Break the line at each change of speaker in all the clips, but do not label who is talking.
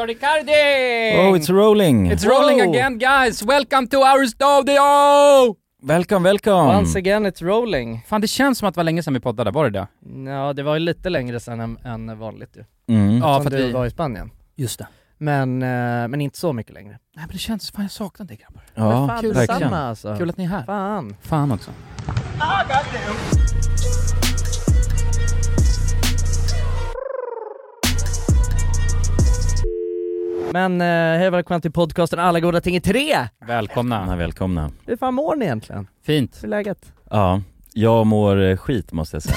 are recording!
Oh, it's rolling!
It's rolling
Whoa.
again guys, welcome to our studio!
Welcome, welcome!
Once again it's rolling.
Fan det känns som att det var länge sedan vi poddade, var det det?
Ja, det var ju lite längre sedan än, än vanligt ju.
Mm.
Ja,
Som
för att
du
vi...
var i Spanien.
Just det.
Men, eh, men inte så mycket längre.
Nej men det känns, fan jag saknar dig grabbar.
men
Ja,
fan
verkligen.
detsamma alltså.
Kul att ni är här.
Fan.
Fan också.
Men eh, hej och välkomna till podcasten Alla goda ting i tre!
Välkomna.
Välkomna, välkomna.
Hur fan mår ni egentligen?
Fint.
Hur är läget?
Ja, jag mår eh, skit måste jag säga.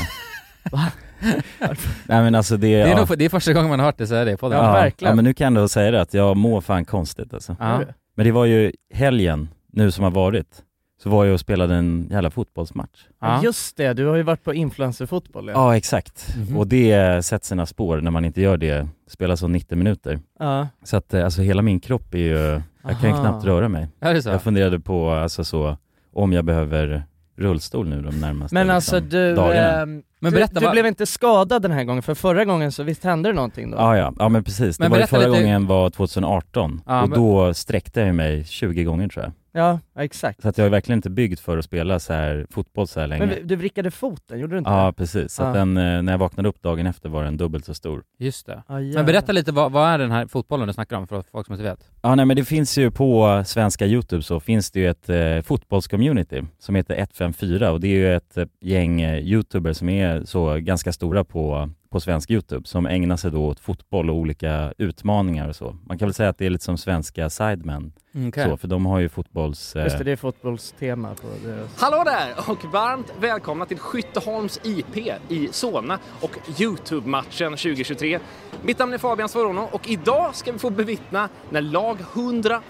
Nej men alltså det...
Det, är
ja.
nog, det är första gången man har hört det säga det i podden.
Ja,
ja,
verkligen.
Ja men nu kan jag ändå säga det att jag mår fan konstigt alltså.
Ja.
Men det var ju helgen, nu som har varit, så var jag och spelade en jävla fotbollsmatch.
Ja.
Just det, du har ju varit på influencerfotboll ja.
Ja exakt,
Mhm.
och det sätter sina spår när man inte gör det, spelar så 90 minuter.
ja.
Så att eh, alltså hela min kropp är ju, jag kan ju
Aha.
knappt röra mig.
Är det så?
Jag funderade på alltså så, om jag behöver rullstol nu de närmaste
Men
liksom,
alltså du,
dagarna.
ehm,
Men
du,
berätta,
du
vad-
blev inte skadad den här gången för förra gången så visst hände det någonting då?
Ja, ja, ja men precis.
Men
det var ju
berätta
förra
lite-
gången var 2018
Ja,
och
men-
då sträckte jag ju mig 20 gånger tror jag.
Ja, ja, exakt.
Så att jag är verkligen inte byggd för att spela så här fotboll så här länge.
Men vi- du vrickade foten, gjorde du inte
Ja
det?
precis, så
Ja.
att den, eh, när jag vaknade upp dagen efter var den dubbelt så stor.
Just det.
Ja, Ah, jävlar.
Men berätta lite, vad, vad är den här fotbollen du snackar om för folk som inte vet?
Ja nej men det finns ju på svenska youtube så finns det ju ett eh, fotbollscommunity som heter 154 och det är ju ett eh, gäng eh, youtubers som är så ganska stora på, på svensk youtube som ägnar sig då åt fotboll och olika utmaningar och så. Man kan väl säga att det är lite som svenska sidemen
Mm,
så, för de har ju fotbolls... eh,
Just det, det är fotbollstema på deras...
Hallå där och varmt välkomna till Skytteholms IP i Solna och Youtube-matchen 2023. Mitt namn är Fabian Svarono och idag ska vi få bevittna när lag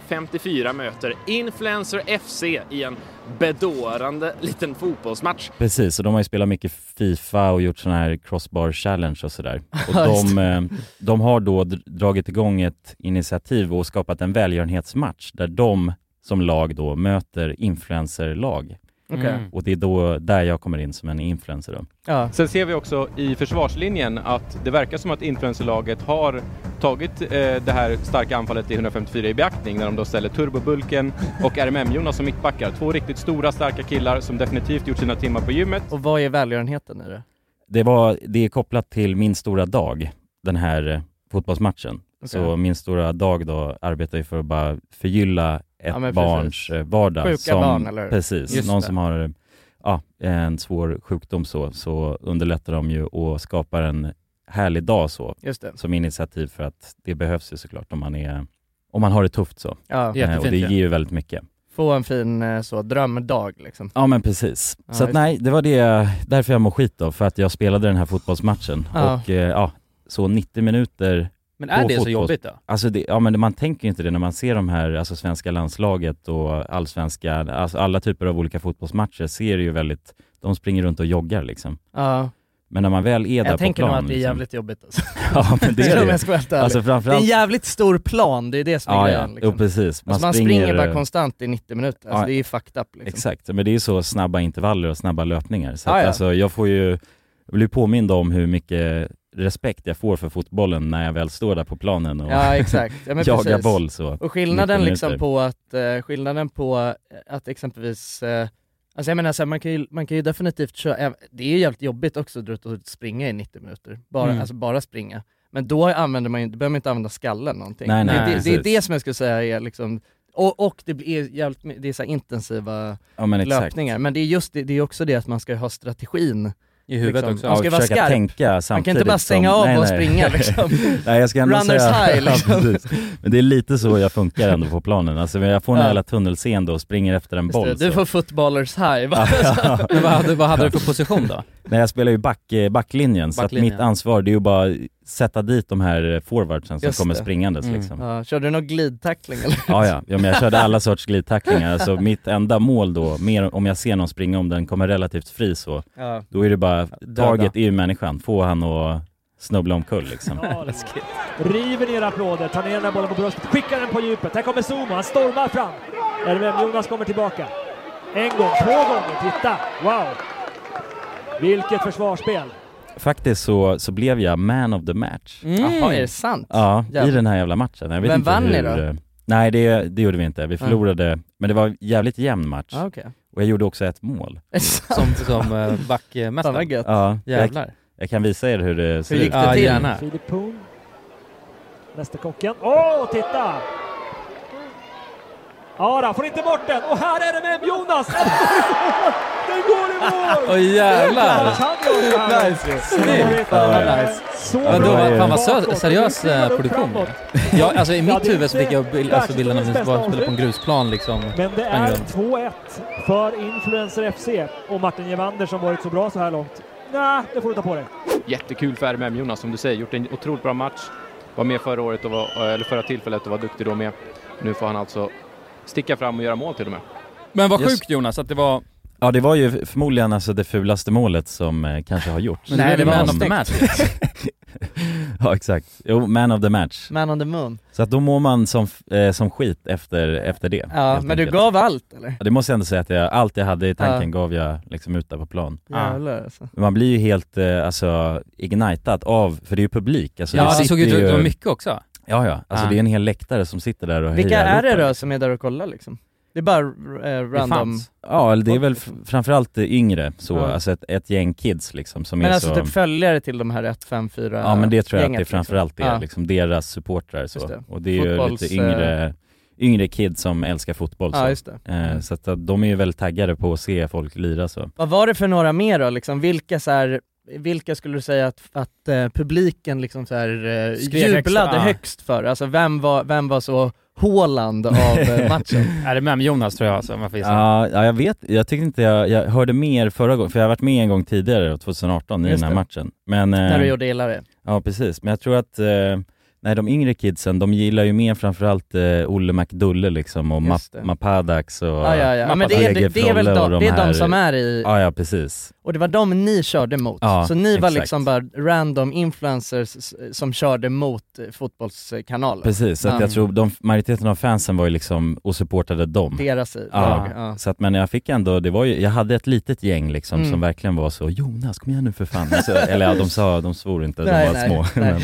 154 möter Influencer FC i en bedårande liten fotbollsmatch.
Precis, och de har ju spelat mycket Fifa och gjort sådana här crossbar challenge och sådär. Och
Ja, just
de, eh, de har då dr- dragit igång ett initiativ och skapat en välgörenhetsmatch där de som lag då möter influencerlag.
Okej.
Mm.
Och det är då där jag kommer in som en influencer då.
Ja.
Sen ser vi också i försvarslinjen att det verkar som att influencerlaget har tagit eh, det här starka anfallet i 154 i beaktning när de då ställer turbobulken och RMM-Jonas som mittbackar. Två riktigt stora starka killar som definitivt gjort sina timmar på gymmet.
Och vad är välgörenheten i det?
Det, var, det är kopplat till Min stora dag, den här eh, fotbollsmatchen. Så Min stora dag då arbetar ju för att bara förgylla ett
Ja, men
barns
precis.
eh, vardag.
Sjuka
som,
barn, eller hur?
Precis,
Just
någon
det.
som har ja, en svår sjukdom så, så underlättar de ju och skapar en härlig dag så,
Just det.
som initiativ för att det behövs ju såklart om man, är, om man har det tufft så.
Ja.
Ja. Jättefint,
Eh, och det ger ju väldigt mycket.
Få en fin eh, så drömdag liksom.
Ja men precis.
Ja,
så att,
just
nej, det var det, därför jag mår skit då, för att jag spelade den här fotbollsmatchen
Ja.
och eh, ja, så 90 minuter,
Men är
På
det så
fotboll.
jobbigt då?
alltså det, ja men man tänker ju inte det när man ser de här, alltså svenska landslaget och allsvenska, alltså alla typer av olika fotbollsmatcher ser ju väldigt, de springer runt och joggar liksom.
Ja.
Men när man väl är där
Jag
på
tänker nog
plan
att det är
liksom,
jävligt jobbigt alltså.
Ja men det
Om
är det.
jag ska vara helt ärlig.
Alltså
Det är en
framförallt,
jävligt stor plan, det är det som är
ja, ja.
grejen liksom.
Jo, precis. eh,
man, alltså, man springer, bara konstant i 90 minuter, alltså,
Ja.
det är ju fucked up liksom.
Exakt, men det är ju så snabba intervaller och snabba löpningar. Så
Ah,
att,
ja.
alltså, jag får ju, jag blir påmind om hur mycket respekt jag får för fotbollen när jag väl står där på planen och
Ja exakt, ja, men
jagar
precis.
boll så.
Och skillnaden
90
liksom
minuter.
på att, eh, skillnaden på eh, att exempelvis eh, Alltså jag menar så här, man, kan ju, man kan ju definitivt köra, eh, det är ju jävligt jobbigt också att dra ut och springa i 90 minuter, bara,
Mm.
alltså bara springa. Men då använder man ju, då behöver man inte använda skallen någonting.
Nej,
nej,
det, det, det är
precis.
det som jag skulle säga är liksom, och, och det blir jävligt, my- det är så här intensiva
Ja men exakt.
löpningar, men det är just det, det är också det att man ska ju ha strategin.
I huvudet
Liksom.
också?
Ja,
Man ska
och
vara
försöka
skarp.
tänka samtidigt
Man kan inte bara stänga
som,
av
nej,
och
nej.
springa liksom.
Nej jag ska ändå
Runners
säga,
high, liksom.
ja, precis. Men det är lite så jag funkar ändå på planen. Alltså, men jag får en
Ja.
jävla tunnelseende och springer efter en
Just
boll.
det,
så.
du får footballers high va?
Men vad hade, vad hade du för position då?
Nej jag spelar ju back, eh, backlinjen, så att
Backlinjen.
mitt ansvar det är ju bara sätta dit de här eh, forwardsen som
Just
kommer
det.
springandes
Mm.
liksom.
Ja, körde du någon glidtackling eller?
Ja, ja. ja men jag körde alla sorts glidtacklingar. Alltså mitt enda mål då, mer om jag ser någon springa, om den kommer relativt fri så,
Ja.
då är det bara,
Döda.
taget är ju människan, få han att snubbla omkull liksom.
Ja, River ner applåder, tar ner den här bollen på bröstet, skickar den på djupet. Här kommer Zuma, han stormar fram. RMM Jonas kommer tillbaka. En gång, två gånger, titta! Wow! Vilket försvarsspel!
faktiskt så, så blev jag man of the match.
Jaha, är det sant?
Mm. Ja, i
Jävlar.
den här jävla matchen. Jag vet
Mm. Vem
inte
vann ni
hur,
då?
Nej, det, det gjorde vi inte. Vi förlorade, men det var en jävligt jämn match.
Ja, okej.
Och jag gjorde också ett mål.
Är det sant?
Som, som eh,
Fan
backmästare.
vad gött.
Ja, jag,
Jävlar.
jag kan visa er hur det ser
Hur gick
ut.
det
Ja,
till?
gärna.
Filip Poon. Mästerkocken. Åh, titta! Ara får inte bort den och här är det med Jonas! Den går i mål!
Åh jävlar!
Nice! Snyggt!
Ja,
Så
Vadå,
bra.
vad
fan vad sö-
Bakåt.
seriös
Nu kliver
eh,
de
produktion.
framåt.
Ja, alltså i
Ja,
mitt
det är
huvud så
inte
fick jag bild, alltså bilden av att
världshistoriens
bara spelar på en grusplan liksom.
Men det
Sprang
är
runt.
2-1 för Influencer FC och Martin Jevander som varit så bra så här långt. Nej, det får du ta på dig.
Jättekul för RMM Jonas som du säger, gjort en otroligt bra match. Var med förra året, och var, eh, eller förra tillfället och var duktig då med. Nu får han alltså sticka fram och göra mål till och med.
Men vad
Yes.
sjukt Jonas att det var...
ja, det var ju förmodligen alltså det fulaste målet som eh, kanske har gjorts.
Men Nej, det
det
blev
var
man of the match.
ja, exakt. Jo, man of the match.
Man on the moon.
Så att då mår man som, f- eh, som skit efter, efter det.
Ja,
helt
men du
enkelt.
gav allt eller?
Ja, Det måste jag ändå säga att jag, allt jag hade i tanken
Ja.
gav jag liksom ut där på plan.
Ja.
Jävlar alltså.
Men Man blir ju helt eh, alltså, ignitad av, för det är ju publik. Alltså,
Ja, det såg ut
sitter
att det var
ju-
mycket också.
Ja, ja. Alltså
Ja.
det är en hel läktare som sitter där och
Vilka
hejar
är
upp
det
en.
då som är där och kollar liksom? Det är bara eh,
Det
random.
fanns.
Ja, eller det är väl f- framförallt det yngre så,
Ja.
alltså ett, ett gäng kids liksom som
Men
är
alltså
så...
typ följare till de här 154
ja men det tror jag att
gänget,
det är framförallt det,
liksom. Ja.
liksom deras supportrar så.
Just det.
Och det är ju
Fotbolls, eh-
lite yngre, yngre kids som älskar fotboll så.
Ja just det.
Eh, så att, eh, de är ju väldigt taggade på att se folk lira så.
Vad var det för några mer då liksom? Vilka så här, vilka skulle du säga att, att eh, publiken liksom så här, eh,
Skrek
jublade
extra.
högst för? Alltså vem var, vem var så Haaland av eh, matchen?
Är det med Jonas tror jag alltså, om jag får gissa.
Ja, ja, jag vet, jag tyckte inte jag, jag hörde mer förra gången, för jag har varit med en gång tidigare, 2018, i
Just
den här
det.
matchen. Men, eh,
När du gjorde illa det?
Ja precis, men jag tror att eh, nej, de yngre kidsen, de gillar ju mer framförallt eh, Olle McDulle liksom och
Just
Ma-
det.
Mapadax och...
Ja, ja, ja. Men det är, det, det är väl
Lagerfrolle och
de,
de
det är
här-
de som är i,
Ja, ja, precis.
och det var de ni körde mot.
Ja,
så ni var
exakt.
liksom bara random influencers s- som körde mot eh, fotbollskanalen.
Precis, så att
Mm.
jag tror de, majoriteten av fansen var ju liksom och supportade dem.
Deras i-
Ja.
lag, ja.
Så att, men jag fick ändå, det var ju, jag hade ett litet gäng liksom
Mm.
som verkligen var så 'Jonas, kom igen nu för fan' alltså, Eller ja, de sa, de svor inte, de var små. Men,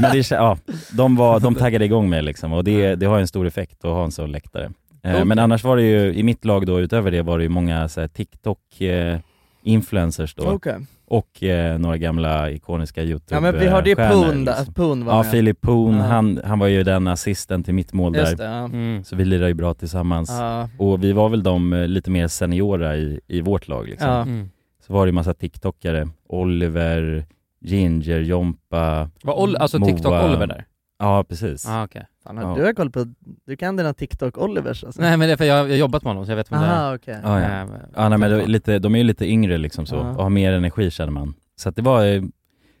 men det, kä- ja, de, var, de taggade igång mig liksom och det, det har ju en stor effekt att ha en sån läktare. Eh,
Coolt.
Men annars var det ju, i mitt lag då utöver det var det ju många så här, TikTok eh, influencers då
Okej.
och eh, några gamla ikoniska youtube
Ja men vi hörde ju
eh,
Poon,
stjärnor,
där,
liksom.
att Poon var
Ja,
med.
Filip Poon,
Ja.
han, han var ju den assisten till mitt mål
Just
där.
det, ja.
Mm.
Så vi lirar ju bra tillsammans.
Ja.
Och vi var väl de eh, lite mer seniora i, i vårt lag liksom.
Ja.
Mm.
Så var det ju massa TikTokare, Oliver, Ginger, Jompa,
Var Ol- alltså
Moa.
TikTok-Oliver där?
ja precis.
Ah, okej.
Fan, har-
Ja.
Du har koll på, du kan dina TikTok-Olivers alltså?
Nej men det är för jag jag har jobbat med honom så jag vet vem det är.
Aha, okej.
Ja, ja.
Ehm,
ja nej, men det, är lite, de är ju lite yngre liksom så,
Ja.
och har mer energi känner man. Så att det var, eh,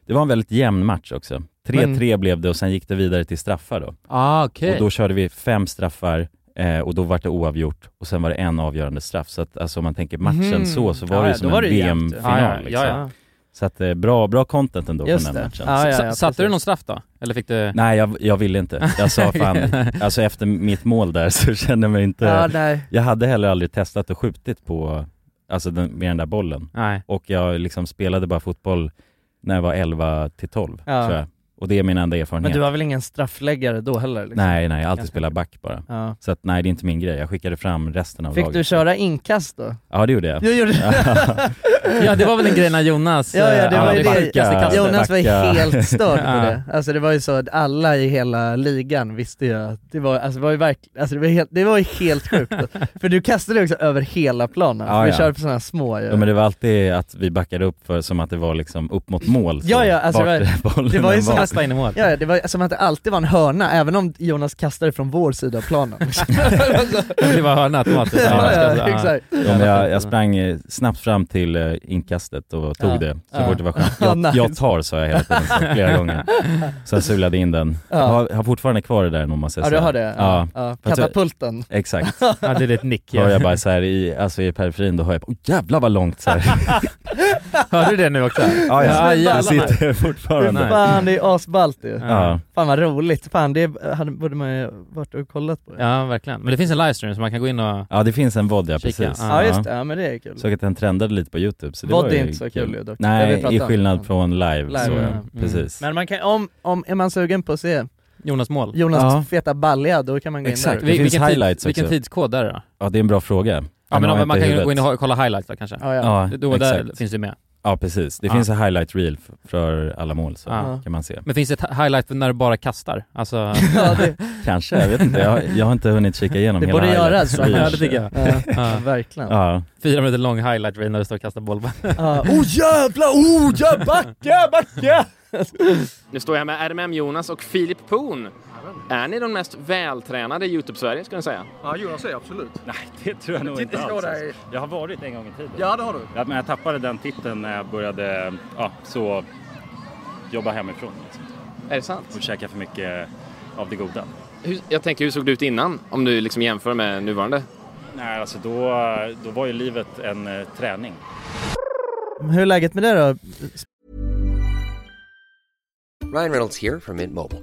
det var en väldigt jämn match också. 3-3 blev det och sen gick det vidare till straffar då.
Ah, okej.
Och då körde vi fem straffar eh, och då var det oavgjort och sen var det en avgörande straff. Så att alltså, om man tänker matchen
Mhm.
så, så var
Ja,
det
ja,
ju
då
som
var
en
det ju jämnt.
VM-final.
Ja, ja,
liksom.
ja,
Ja.
Så att, eh, bra, bra content ändå
Just
från
det.
den matchen.
Ja, ja,
Sa-
ja,
Satte du
precis.
någon straff då? Eller fick du...
Nej, jag, jag ville inte. Jag sa fan, alltså efter mitt mål där så kände jag mig inte...
Ja, nej.
Jag hade heller aldrig testat och skjutit på, alltså den, med den där bollen.
Nej.
Och jag liksom spelade bara fotboll när jag var 11 till 12,
Ja.
tror jag. Och det är min enda erfarenhet.
Men du har väl ingen straffläggare då heller? Liksom?
Nej, nej, jag har alltid
Ganska
spelat back bara.
Ja.
Så att nej, det är inte min grej. Jag skickade fram resten av
Fick
laget.
du köra inkast då?
Ja, det gjorde jag.
Jag gjorde
Ja det var väl en grej när Jonas...
Ja, ja, det
eh,
Ja,
var ju
aldrig
det.
backade sig kastet.
Jonas var ju
Backa.
helt störd på
Ja.
det. Alltså det var ju så att alla i hela ligan visste ju att det var, alltså det var ju verkligen, alltså det var, helt, det var ju helt sjukt. För du kastade också över hela planen,
Ja,
vi
ja.
körde på sådana små ju.
Ja, men det var alltid att vi backade upp för, som att det var liksom upp mot mål. så
Ja, ja, alltså
vart
det
bollen
det var ju
än
som att-
Kasta in i mål.
Ja, ja, det var ju som att det alltid var en hörna, även om Jonas kastade från vår sida av planen. Alltså.
Det var hörna automatiskt.
ja, ja,
Ja.
exakt.
Ja, men jag, jag sprang eh, snabbt fram till eh, inkastet och tog
Ja.
det så
Ja.
fort det var skönt.
Ja,
Jag,
nice.
jag tar sa jag hela tiden, så, flera gånger. Sen sulade jag in den.
Ja.
Jag har, har fortfarande kvar det där om man säger
Ja du
så här.
har det?
Ja,
ja.
Fast jag-
Katapulten.
exakt.
Ja, det är ett nick.
Hör
Ja.
jag bara så här i, alltså i periferin, då hör jag bara, oh, jävlar vad långt så här.
Hörde du det nu också?
ja,
Ja,
jag,
jävlar.
jag sitter fortfarande.
Nej.
Fan det är asballt ju.
Ja.
Fan vad roligt, fan det hade, borde man ju varit och kollat på.
Ja, verkligen. Men det finns en livestream så man kan gå in och...
ja, det finns en vod ja,
Kika.
precis.
Ja,
Ja just det, ja men det är kul.
Såg att den trendade lite på youtube. Så det
Vod
var
är
ju
inte så kul ju dock. Det har vi
Nej,
pratat
i
om.
skillnad från live.
Live,
så,
ja.
ja.
Mm.
Precis.
Men man kan, om, om är man sugen på att se
Jonas mål.
Jonas
Ja.
feta balja, då kan man gå in
Exakt.
där.
Det finns
vilken,
highlights också.
vilken tidskod där då?
Ja, det är en bra fråga.
Ja,
Den
men
har jag
om man
inte i
kan ju gå in
huvudet.
och kolla highlights då kanske.
Ja, ja.
Ja,
Då där
exakt.
finns det med.
Ja, precis. Det
Ja.
finns en highlight reel f- för alla mål, så
Ja.
kan man se.
Men finns det ett highlight för när du bara kastar? Alltså...
ja det,
Kanske, jag vet inte. Jag, jag har inte hunnit kika igenom
det
hela
borde
highlight
göras.
reel.
Ja, det tycker jag.
Ja,
Ja.
verkligen.
Ja,
Fyra minuter lång highlight reel när du står och kastar boll.
Ja. Oh jävlar, oh ja, backa, backa!
Nu står jag med RMM Jonas och Filip Poon. Är ni de mest vältränade i Youtube-Sverige skulle jag säga?
Ja, Jonas är absolut.
Nej, det tror jag nog inte
Titta, jag
alls.
är-
alltså. Jag har varit en gång i tiden.
Ja, det har du.
Ja, men jag tappade den titeln när jag började ja, så jobba hemifrån liksom.
Är det sant?
och käka för mycket av det goda.
Hur, jag tänker, hur såg du ut innan? Om du liksom jämför med nuvarande.
Nej, alltså då, då var ju livet en eh, träning.
Hur är läget med det då?
Ryan Reynolds here from Mint Mobile.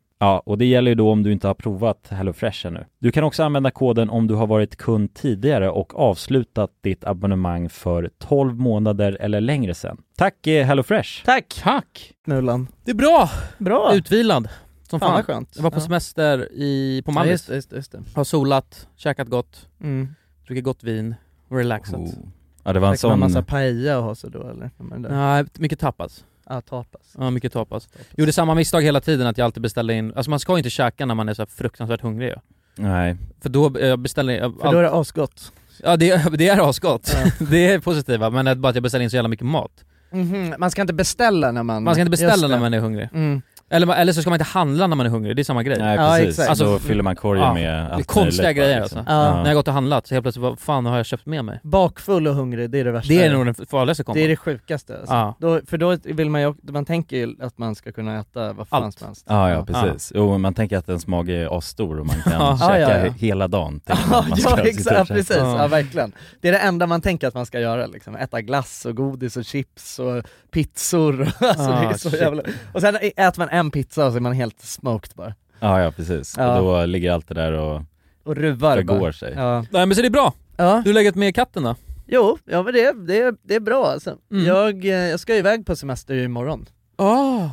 Ja, och det gäller ju då om du inte har provat HelloFresh ännu. Du kan också använda koden om du har varit kund tidigare och avslutat ditt abonnemang för 12 månader eller längre sedan. Tack eh, HelloFresh!
Tack!
Tack!
Nulan.
Det är bra!
Bra!
Utvilad. Som
Fan,
fan.
vad skönt.
Jag var på
Ja.
semester i, på
Ja,
Mallis.
just det, just det, just det.
Har solat, käkat gott,
Mm.
druckit gott vin, och relaxat.
Oh.
Oh. Ja, det var en
Fick man
sån...
massa paella och ha sig då eller? Ja, men det-
Nej, mycket tapas.
Ja, tapas.
Ja, mycket tapas. Gjorde samma misstag hela tiden att jag alltid beställde in, alltså man ska ju inte käka när man är så här fruktansvärt hungrig ju.
Nej.
För då eh, jag beställde jag
För då är det asgott.
Ja det, det är asgott. det är positiva, men att bara att jag beställer in så jävla mycket mat.
Mhm, Man ska inte beställa när man...
Man ska inte
Just
beställa
det.
när man är hungrig.
Mm.
Eller, eller så ska man inte handla när man är hungrig, det är samma grej.
Nej
Ja,
precis,
exakt. Mm.
då
f-
fyller man korgen
ja,
med
det är
allt
konstiga
möjligt bara,
grejer
liksom.
alltså.
Ja.
När jag gått och handlat så helt plötsligt, vad fan har jag köpt med mig?
Bakfull och hungrig, det är det värsta.
Det är nog den farligaste kombon.
Det är det sjukaste alltså.
Ja.
då, För då vill man ju, också- man tänker ju att man ska kunna äta vad fan
Allt.
som helst.
Ja, ja precis. Jo, man tänker att ens mage är asstor och man kan
Ja.
käka
Ja, ja, ja.
hela dagen. tänker man.
Ja,
Man ska
ja
sitta och
exakt,
käka.
precis, ja. verkligen. Det är det enda man tänker att man ska göra liksom. äta glass och godis och chips och pizzor, alltså det är
Ah,
så
shit.
jävla... Och sen äter man en pizza och så är man helt smoked bara.
Ja, ja precis.
Ja.
Och då ligger allt det där och
Och ruvar
förgår
bara.
sig.
Ja.
Nej men så det är bra.
Ja.
Du har legat med katten då?
Jo, ja men det, det, det är bra alltså.
Mm.
Jag, eh, jag ska iväg på semester imorgon.
Oh.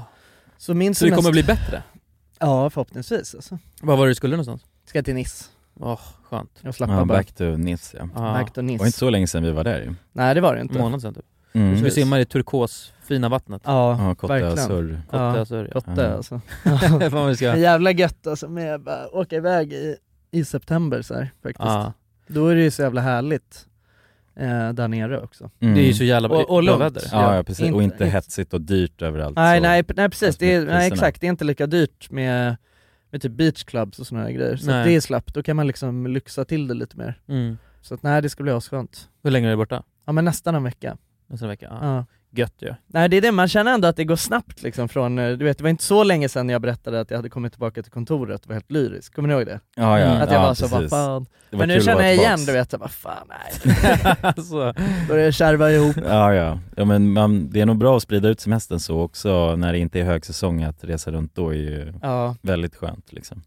Så min
Så det kommer
semester-
bli bättre?
Ja, förhoppningsvis alltså.
Vad var det du skulle någonstans?
Ska till Nice.
Åh, skönt.
Jag slappar
Ja,
bara.
back to Nice ja.
Ja. Back
to Nice.
Det var inte så länge sedan vi var där ju.
Nej det var det inte.
En månad sedan typ.
Mm.
Så vi
Precis.
simmar i turkos, fina vattnet.
Ja,
Ja, Kotta
verkligen.
Sur.
Kotta Sur, ja.
Kotta,
Mm.
alltså.
Fan, vad vi ska-
Det är jävla gött alltså med att bara åka iväg i, i september så här, faktiskt.
Ja.
Då är det ju så jävla härligt eh, där nere också.
Mm.
Det är ju så jävla
Och, och
bra
lugnt.
väder.
Ja, ja precis. och inte,
inte-
hetsigt och dyrt överallt.
Nej,
så.
nej, p- nej precis, det är,
Priserna.
nej, exakt, det är inte lika dyrt med, med typ beachclubs och sådana här grejer. Så att
Nej.
det är slappt, då kan man liksom lyxa till det lite mer.
Mm.
Så att nej, det ska bli asskönt.
Hur länge är du borta?
Ja men nästan en vecka.
Nästa vecka? Ja.
Ja.
Gött ju.
Nej det är det, man känner ändå att det går snabbt liksom från, eh, du vet det var inte så länge sedan jag berättade att jag hade kommit tillbaka till kontoret och var helt lyrisk, kommer ni ihåg det?
Ja, ja,
Mm. Att jag
ja,
var så, vad
precis.
fan.
Det var
Men nu
kul att
känner
vara
jag igen,
tillbaks.
du vet, jag bara fan nej. Börjar jag kärva ihop.
Ja, ja. ja men man, det är nog bra att sprida ut semestern så också när det inte är högsäsong att resa runt då är ju
Ja.
väldigt skönt liksom.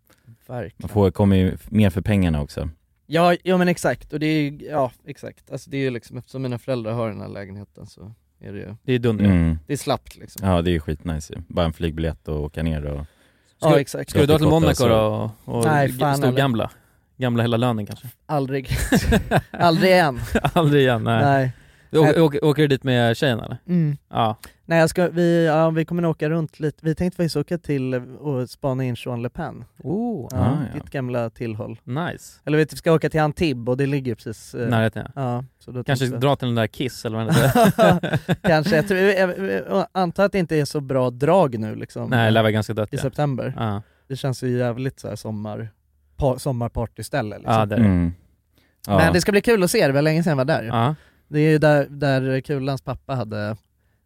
Verkligen.
Man får, kommer ju mer för pengarna också.
Ja, ja men exakt, och det är ju- ja exakt. Alltså det är ju liksom, eftersom mina föräldrar har den här lägenheten så är det ju,
Det är dunder.
Mm.
det är slappt liksom.
Ja, det är ju skitnice ju. Bara en flygbiljett och åka ner och...
Ja, exakt.
Ska du dra till
Kotta
Monaco
Sur.
då och, och
Nej,
Nej,
fan,
stor gamla? Gamla hela lönen kanske?
Aldrig, aldrig än.
Aldrig igen, nej.
Nej.
Du, åker, åker, åker du dit med tjejen eller?
Mm.
Ja.
Nej jag ska, vi, ja, vi kommer nog åka runt lite, vi tänkte faktiskt åka till och spana in Jean Le Pen.
Oh,
Ja,
Ah, ja.
Ditt gamla tillhåll.
nice.
Eller vet, du, vi ska åka till Antibes och det ligger precis... eh,
Närheten ja.
Ja, så då
Kanske
tänkte jag-
dra till den där Kiss eller vad den heter?
Kanske, jag, tror, jag, jag, jag antar att det inte är så bra drag nu liksom.
Nej, det lär vara ganska dött
I
ja.
september.
Ja,
Det känns ju jävligt så här sommar, pa, sommarpartyställe liksom.
ja det är det.
Mm. Ja.
Men det ska bli kul att se det, det var länge sedan jag var där ju.
Ja,
Det är ju där, där Kulans pappa hade,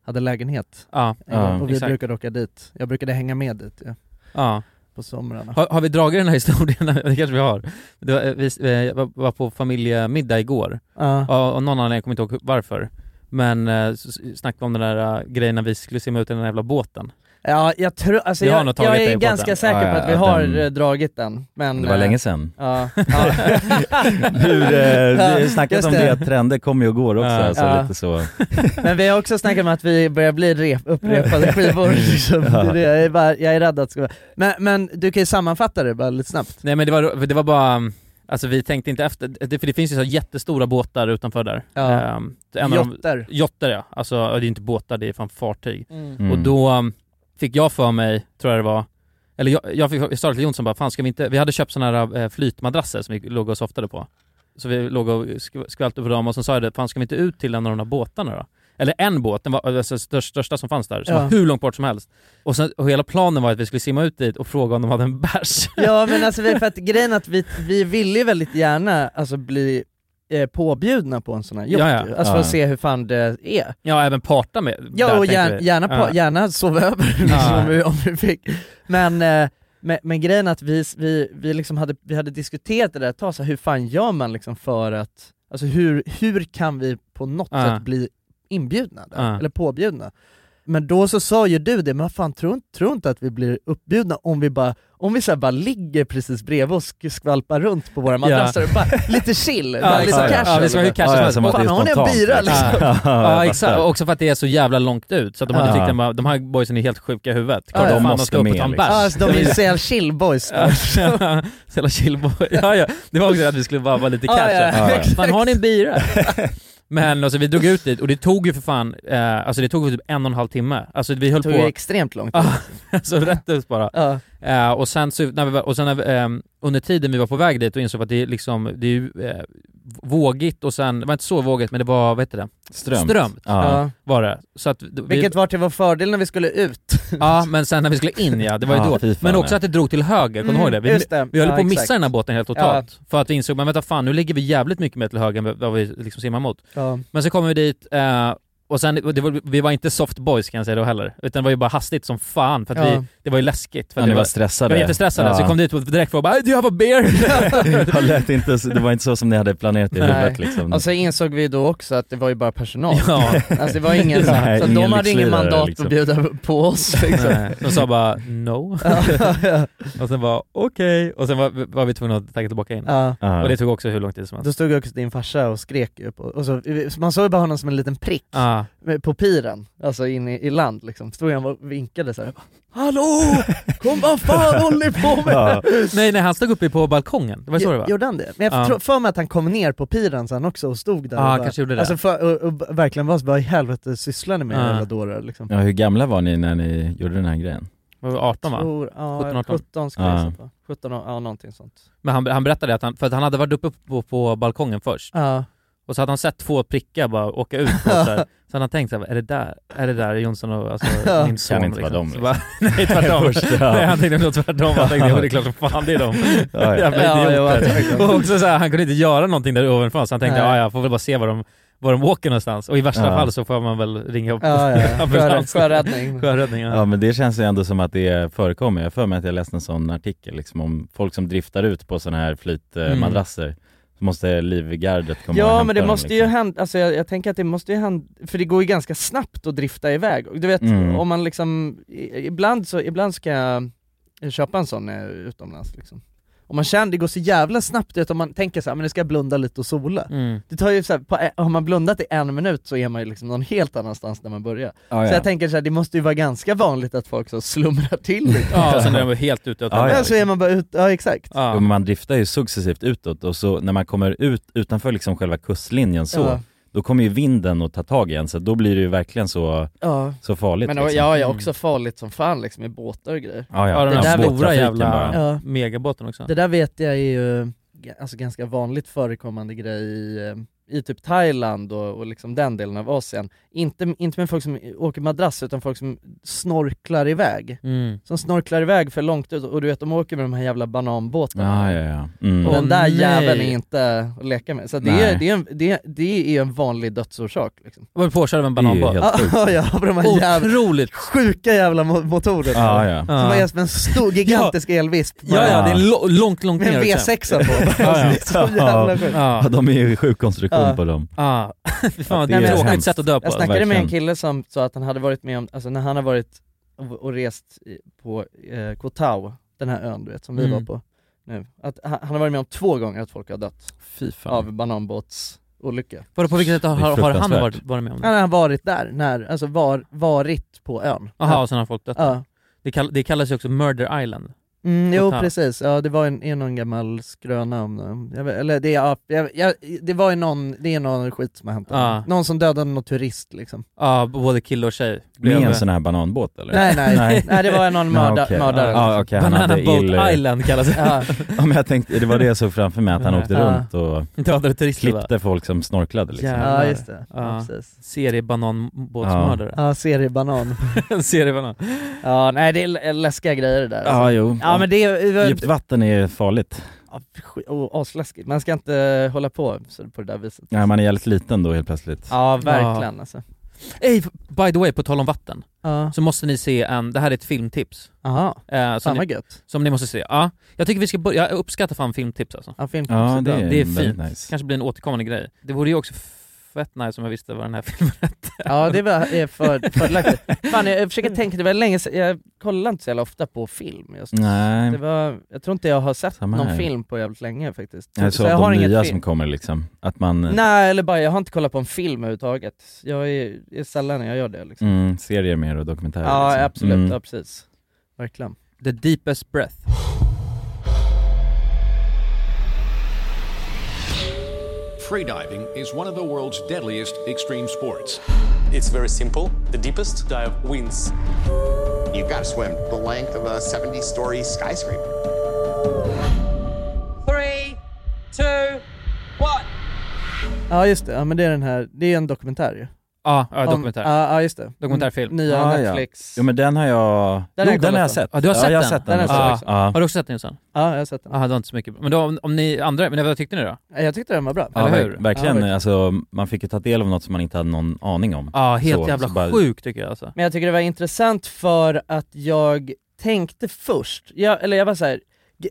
hade lägenhet.
ja,
en gång,
Ja,
och vi
exakt.
brukade åka dit. Jag brukade hänga med dit ja,
ja.
på somrarna.
Har, har vi dragit den här historien? det kanske vi har. Det var, vi eh, jag var- var på familjemiddag igår,
Ja.
Ja, och någon anledning, jag kommer inte ihåg varför. Men eh, så så snackade vi om den där eh, grejen när vi skulle simma ut i den där jävla båten.
Ja, jag tror, alltså
Vi har
jag,
nog
jag,
tagit
är
dig på
ganska
den.
säker
Ja,
på
ja,
att vi
ja,
har
den-
eh, dragit den, men...
det var
eh,
länge sedan.
Ja, ja.
Hur, eh, vi har ju snackat
just
om
det.
det, att trender kommer ju och går också,
Ja.
alltså
Ja.
lite så.
men vi har också snackat om att vi börjar bli rep, upprepade skivor liksom. det är det. Jag, är bara, jag är rädd att det ska vara... men, men du kan ju sammanfatta det bara lite snabbt.
Nej men det var, det var bara, um, alltså vi tänkte inte efter, det, för det finns ju så här jättestora båtar utanför där.
Ja.
Um, en av de-
Jotter.
Jotter ja, alltså ja, det är inte båtar, det är fan fartyg.
Mm.
Mm.
Och då um, fick jag för mig, tror jag det var, Eller jag, jag, fick- jag sa det till Jonsson bara, fan ska vi inte, vi hade köpt sådana här eh, flytmadrasser som vi låg och softade på. Så vi låg och sk- skvalpte på dem och så sa jag det, fan ska vi inte ut till en av de där båtarna då? Eller en båt, den var alltså, största, största som fanns där, som
Ja.
var hur långt bort som helst. Och, sen, och hela planen var att vi skulle simma ut dit och fråga om de hade en bärs.
Ja men alltså vi- för att grejen är att vi, vi ville ju väldigt gärna alltså, bli eh, påbjudna på en sån här yacht
Ja, ja.
ju. Alltså för att
Ja.
se hur fan det är.
Ja, även parta med.
Ja
där,
och
tänkte
gärna,
vi.
gärna,
Ja.
på, gärna sova över liksom,
Ja.
om, vi, om vi fick. Men, eh, men, men grejen är att vi, vi, vi, liksom hade, vi hade diskuterat det där ett tag, så här, hur fan gör man liksom för att, alltså hur, hur kan vi på något
Ja.
sätt bli inbjudna där,
Ja.
eller påbjudna? Men då så sa ju du det, men fan tror inte, tror inte att vi blir uppbjudna om vi bara, om vi så här bara ligger precis bredvid och sk- skvalpar runt på våra madrasser, och bara lite chill,
Ja,
bara lite
exakt.
casual.
Ja, vi ska vara hur
Bara,
casual
Ja, som att det är
Fan har ni en
spontant,
bira
liksom.
liksom?
Ja,
Ja
jag
exakt,
fattar.
och också för att det är så jävla långt ut så att de hade
Ja.
tyckt att de här boysen är helt sjuka i huvudet.
Ja, de
Fan,
måste
ska upp och
med,
ta en
liksom.
bärs.
Ja, alltså, de är ju så jävla chill boys.
Ja, ja. Så jävla chillboy. Ja, ja. Det var också att vi skulle bara vara lite
Ja,
casual.
ja, ja. Exakt.
Fan har ni en bira? Men alltså, vi drog ut dit och det tog ju för fan, eh, alltså det tog typ en och en halv timme. Alltså vi höll
Det tog
på...
ju extremt lång tid.
Ja, alltså rätt ut bara.
Ja.
Eh, och sen, så, när vi, var- och sen när vi, ehm, under tiden vi var på väg dit och insåg att det, är liksom, det är ju eh, vågigt och sen, det var inte så vågigt men det var, vad heter det?
Strömt.
Strömt
Ja.
var det. Så att vi,
Vilket var till vår fördel när vi skulle ut.
Ja, men sen när vi skulle in ja, det var ju
Ja,
då.
fy fan,
men också
ja.
att det drog till höger, kommer du
Mm,
ihåg det? Vi,
just det.
vi höll
Ja,
på att
exakt.
missa den här båten helt totalt. För att vi insåg, men vänta fan, nu ligger vi jävligt mycket mer till höger än vad vi liksom simmar mot.
Ja.
Men så kommer vi dit, eh, och sen, och det var, vi var inte soft boys kan jag säga då heller. Utan det var ju bara hastigt som fan, för att
Ja.
vi, det var ju läskigt. För
Ja,
att
ni
vi
var stressade.
Vi var jättestressade,
Ja.
så vi kom dit och direkt och bara "Do you have a beer?”
Ja, lät inte, så- det var inte så som ni hade planerat i huvudet liksom.
Och så insåg vi då också att det var ju bara personal.
Ja.
Alltså det var ingen,
Nej,
så
ingen
de hade ingen
lyxlirare,
mandat
liksom.
att bjuda på oss liksom.
Nej. De sa bara “No”. och sen bara “Okej” och sen var, var vi tvungna att tagga tillbaka in.
Ja.
Och det tog också hur lång tid som helst.
Då stod också din farsa och skrek ju på, och så, så man såg ju bara honom som en liten prick
Ja.
med- på piren, alltså in i, i land liksom. Stod han och vinkade såhär Hallå! Kom vad fan håller ni på med?
Ja. Nej nej, han stod uppe på balkongen, det var så det var?
Gjorde han det? Men jag
Ja.
tror för mig att han kom ner på piren sen också och stod där
Ja,
och
han
bara,
kanske gjorde det.
Alltså för, och, och verkligen var så bara i helvete sysslar ni med
Ja.
jävla dårar liksom?
Ja, hur gamla var ni när ni gjorde den här grejen?
Var vi 18 va?
Tror, ja,
17,
17,
18.
17 skulle jag
Ja.
gissa på. 17, ja någonting sånt.
Men han, han berättade att han, för att han hade varit uppe på, på balkongen först
Ja.
och så hade han sett två prickar bara åka ut på så här. Så hade han tänkt såhär, är det där, är det där Jonsson och alltså,
Ja.
min son? liksom?"
Kan inte liksom- vara dem,
Så bara, Nej tvärtom.
Först, ja.
Nej, han tänkte nog tvärtom, han tänkte "Jo, det är klart som fan det är dem.
Ja, ja.
Jävla
Ja, ja,
idioter.
verkligen.
och också så här, han kunde inte göra någonting där ovanifrån så han tänkte,
Nej.
ja jag får väl bara se var de, var de åker någonstans och i värsta
Ja.
fall så får man väl ringa upp
Ja, ja, ja. Sjörä-
ambulans.
Sjöräddning.
Sjöräddning, ja.
Ja men det känns ju ändå som att det förekommer. Jag har för mig att jag läste en sån artikel liksom, om folk som driftar ut på såna här
Mm.
flytmadrasser. Så måste livgardet komma och
Ja
hämta
men det
dem,
måste ju
liksom.
hända, alltså jag, jag tänker att det måste ju hända, för det går ju ganska snabbt att drifta iväg. Och Du vet,
Mm.
om man liksom, i- ibland så, ibland ska jag eh, köpa en sån när jag är utomlands liksom. Om man känner, det går så jävla snabbt, du vet, om man tänker så här, men nu ska jag blunda lite och sola.
Mm.
Det tar ju så här, på, eh, har man blundat i en minut så är man ju liksom någon helt annanstans när man börjar.
Ja,
Så
Ah, ja.
jag tänker så här, det måste ju vara ganska vanligt att folk så slumrar till lite.
Ja, och sen är de helt ute åt
Ja, liksom.
helvete.
Men så är man bara ut, ja exakt.
Ja.
Jo, men man driftar ju successivt utåt och så när man kommer ut utanför liksom själva kustlinjen så,
Ja.
då kommer ju vinden att ta tag i en så då blir det ju verkligen så,
Ja.
så farligt
Men
liksom.
ja, ja,
Mm.
också farligt som fan liksom med båtar och grejer.
Ja, ja.
Ja, den
Det
här
där
stora
båttrafiken
jävla
bara.
Ja.
megabåten också.
Det där vet jag är ju ga- alltså, ganska vanligt förekommande grej i, eh, i typ Thailand och, och liksom den delen av Asien. Inte, inte med folk som åker madrass utan folk som snorklar iväg.
Mm.
Som snorklar iväg för långt ut och du vet de åker med de här jävla bananbåtarna.
Ja, ja, ja. Mm.
Och den
Åh,
där
nej.
jäveln är inte att leka med. Så det är,
Nej.
det, är en, det, är, det är en vanlig dödsorsak liksom.
Jag var påkörd av en
Det är ju
bananbåt.
helt sjukt.
ja, på de här jävla
Otroligt!
sjuka jävla mo- motorerna.
Ja, ja.
Som
Ja.
är som en stor, gigantisk elvisp.
Ja, ja, det är lo- långt, långt
Med
ner
en
också.
V6 på.
Ja, ja.
Alltså, det är så jävla sjukt.
Ja,
Ja,
de är ju sjuk konstruktion
Ja.
på dem.
ja. Fy fan,
Ja, det
det
är
är ett
hemskt.
sätt att dö på.
Jag snackade med en
verkligen.
kille som sa att han hade varit med om, alltså när han har varit och, och rest i- på eh, Koh Tao, den här ön du vet, som vi
Mm.
var på nu. Att han, han har varit med om två gånger att folk har dött
Fy fan.
av bananbåtsolycka.
Vadå, på vilket sätt
Det
har,
är
har han
fruktansvärt.
varit, varit med om
Han
det?
har varit där, när, alltså var, varit på ön.
Jaha, och sen har folk dött.
Ja.
Det, kall, det kallas ju också Murder Island.
Mm, jo
Total.
precis, ja det var en, är någon gammal skröna om det. Jag vet- Eller det, är- ja, jag, jag, det var ju någon, det är någon skit som har hänt.
Ja.
Någon som dödade någon turist liksom.
Ja, både kille och tjej.
Med en sån här bananbåt eller?
Nej, nej. Nej, det var någon mörda-
okej.
mördare.
Ja, okej, han
Banana
hade
Boat
ill-
Island kallas det.
Ja.
Ja men jag tänkte, det var det jag såg framför mig, att han
Nej.
åkte
Ja.
runt och
Dödade turister, va?
klippte folk som snorklade liksom.
Jävlar.
Ja, just det. Ja, precis.
Seriebananbåtsmördare.
Ja, seriebanan.
En seriebanan.
Ja, nej det är l- läskiga grejer det där. alltså.
Ja, jo.
Ja men det är...
Djupt vatten är farligt.
Skit- oh, Asläskigt, man ska inte hålla på så på det där viset.
Ja, man är jävligt liten då helt plötsligt.
Ja, verkligen alltså.
Ey, by the way, på tal om vatten.
Ja.
Så måste ni se en, det här är ett filmtips.
Aha.
Alltså,
Eh,
Fan,
som,
vad
ni,
gött.
som ni måste se. Ja, jag tycker vi ska börja, jag uppskattar fan filmtips alltså.
Ja, filmtips
Ja, är det bra. är
det är
väldigt
fint.
nice.
Kanske blir en återkommande grej. Det vore ju också fett nice om jag visste vad den här filmen hette.
Ja det var, är för, fördelaktigt. Fan jag, jag försöker tänka, det var länge sedan, jag kollar inte så jävla ofta på film just.
Nej.
Det var, jag tror inte jag har sett
Samma
någon
här.
film på jävligt länge faktiskt.
Jag
så
såg
jag
de
har
nya
inget
som
film.
kommer liksom. Att man
Nej eller bara, jag har inte kollat på en film överhuvudtaget. Jag är, är sällan jag gör det liksom.
mm, serier mer och dokumentärer
Ja
liksom.
absolut,
Mm.
ja precis. Verkligen.
The deepest breath.
Freediving is one of the world's deadliest extreme sports. It's very simple. The deepest dive wins.
You've got to swim the length of a 70 story skyscraper.
Three, two, one.
Ja just det, ja men det är den här, det är en dokumentär ju.
Ja, ja
Om-
dokumentär.
Ja, ja just det. Mm.
Dokumentärfilm.
Nya
Ah, Ja, ja.
Netflix.
Jo men den har jag, jo,
Den har jag
den har
kollat
jag
på.
sett.
Ja, du har
ja, jag
sett den?
har sett den.
Den har jag
ja,
också.
ja.
Har du också sett den Jonsson?
Ja, jag har sett den.
Ah, det var inte så mycket. Men då, om- om ni andra, men vad tyckte ni då?
Ja, Jag tyckte den var bra.
Ja,
Eller
ver-
hur?
Verkligen,
Ja, verkligen.
alltså man fick ju ta del av något som man inte hade någon aning om.
Ja, helt
Så-
jävla
så bara-
sjukt tycker jag alltså.
Men jag tycker det var intressant för att jag tänkte först, jag, eller jag var såhär,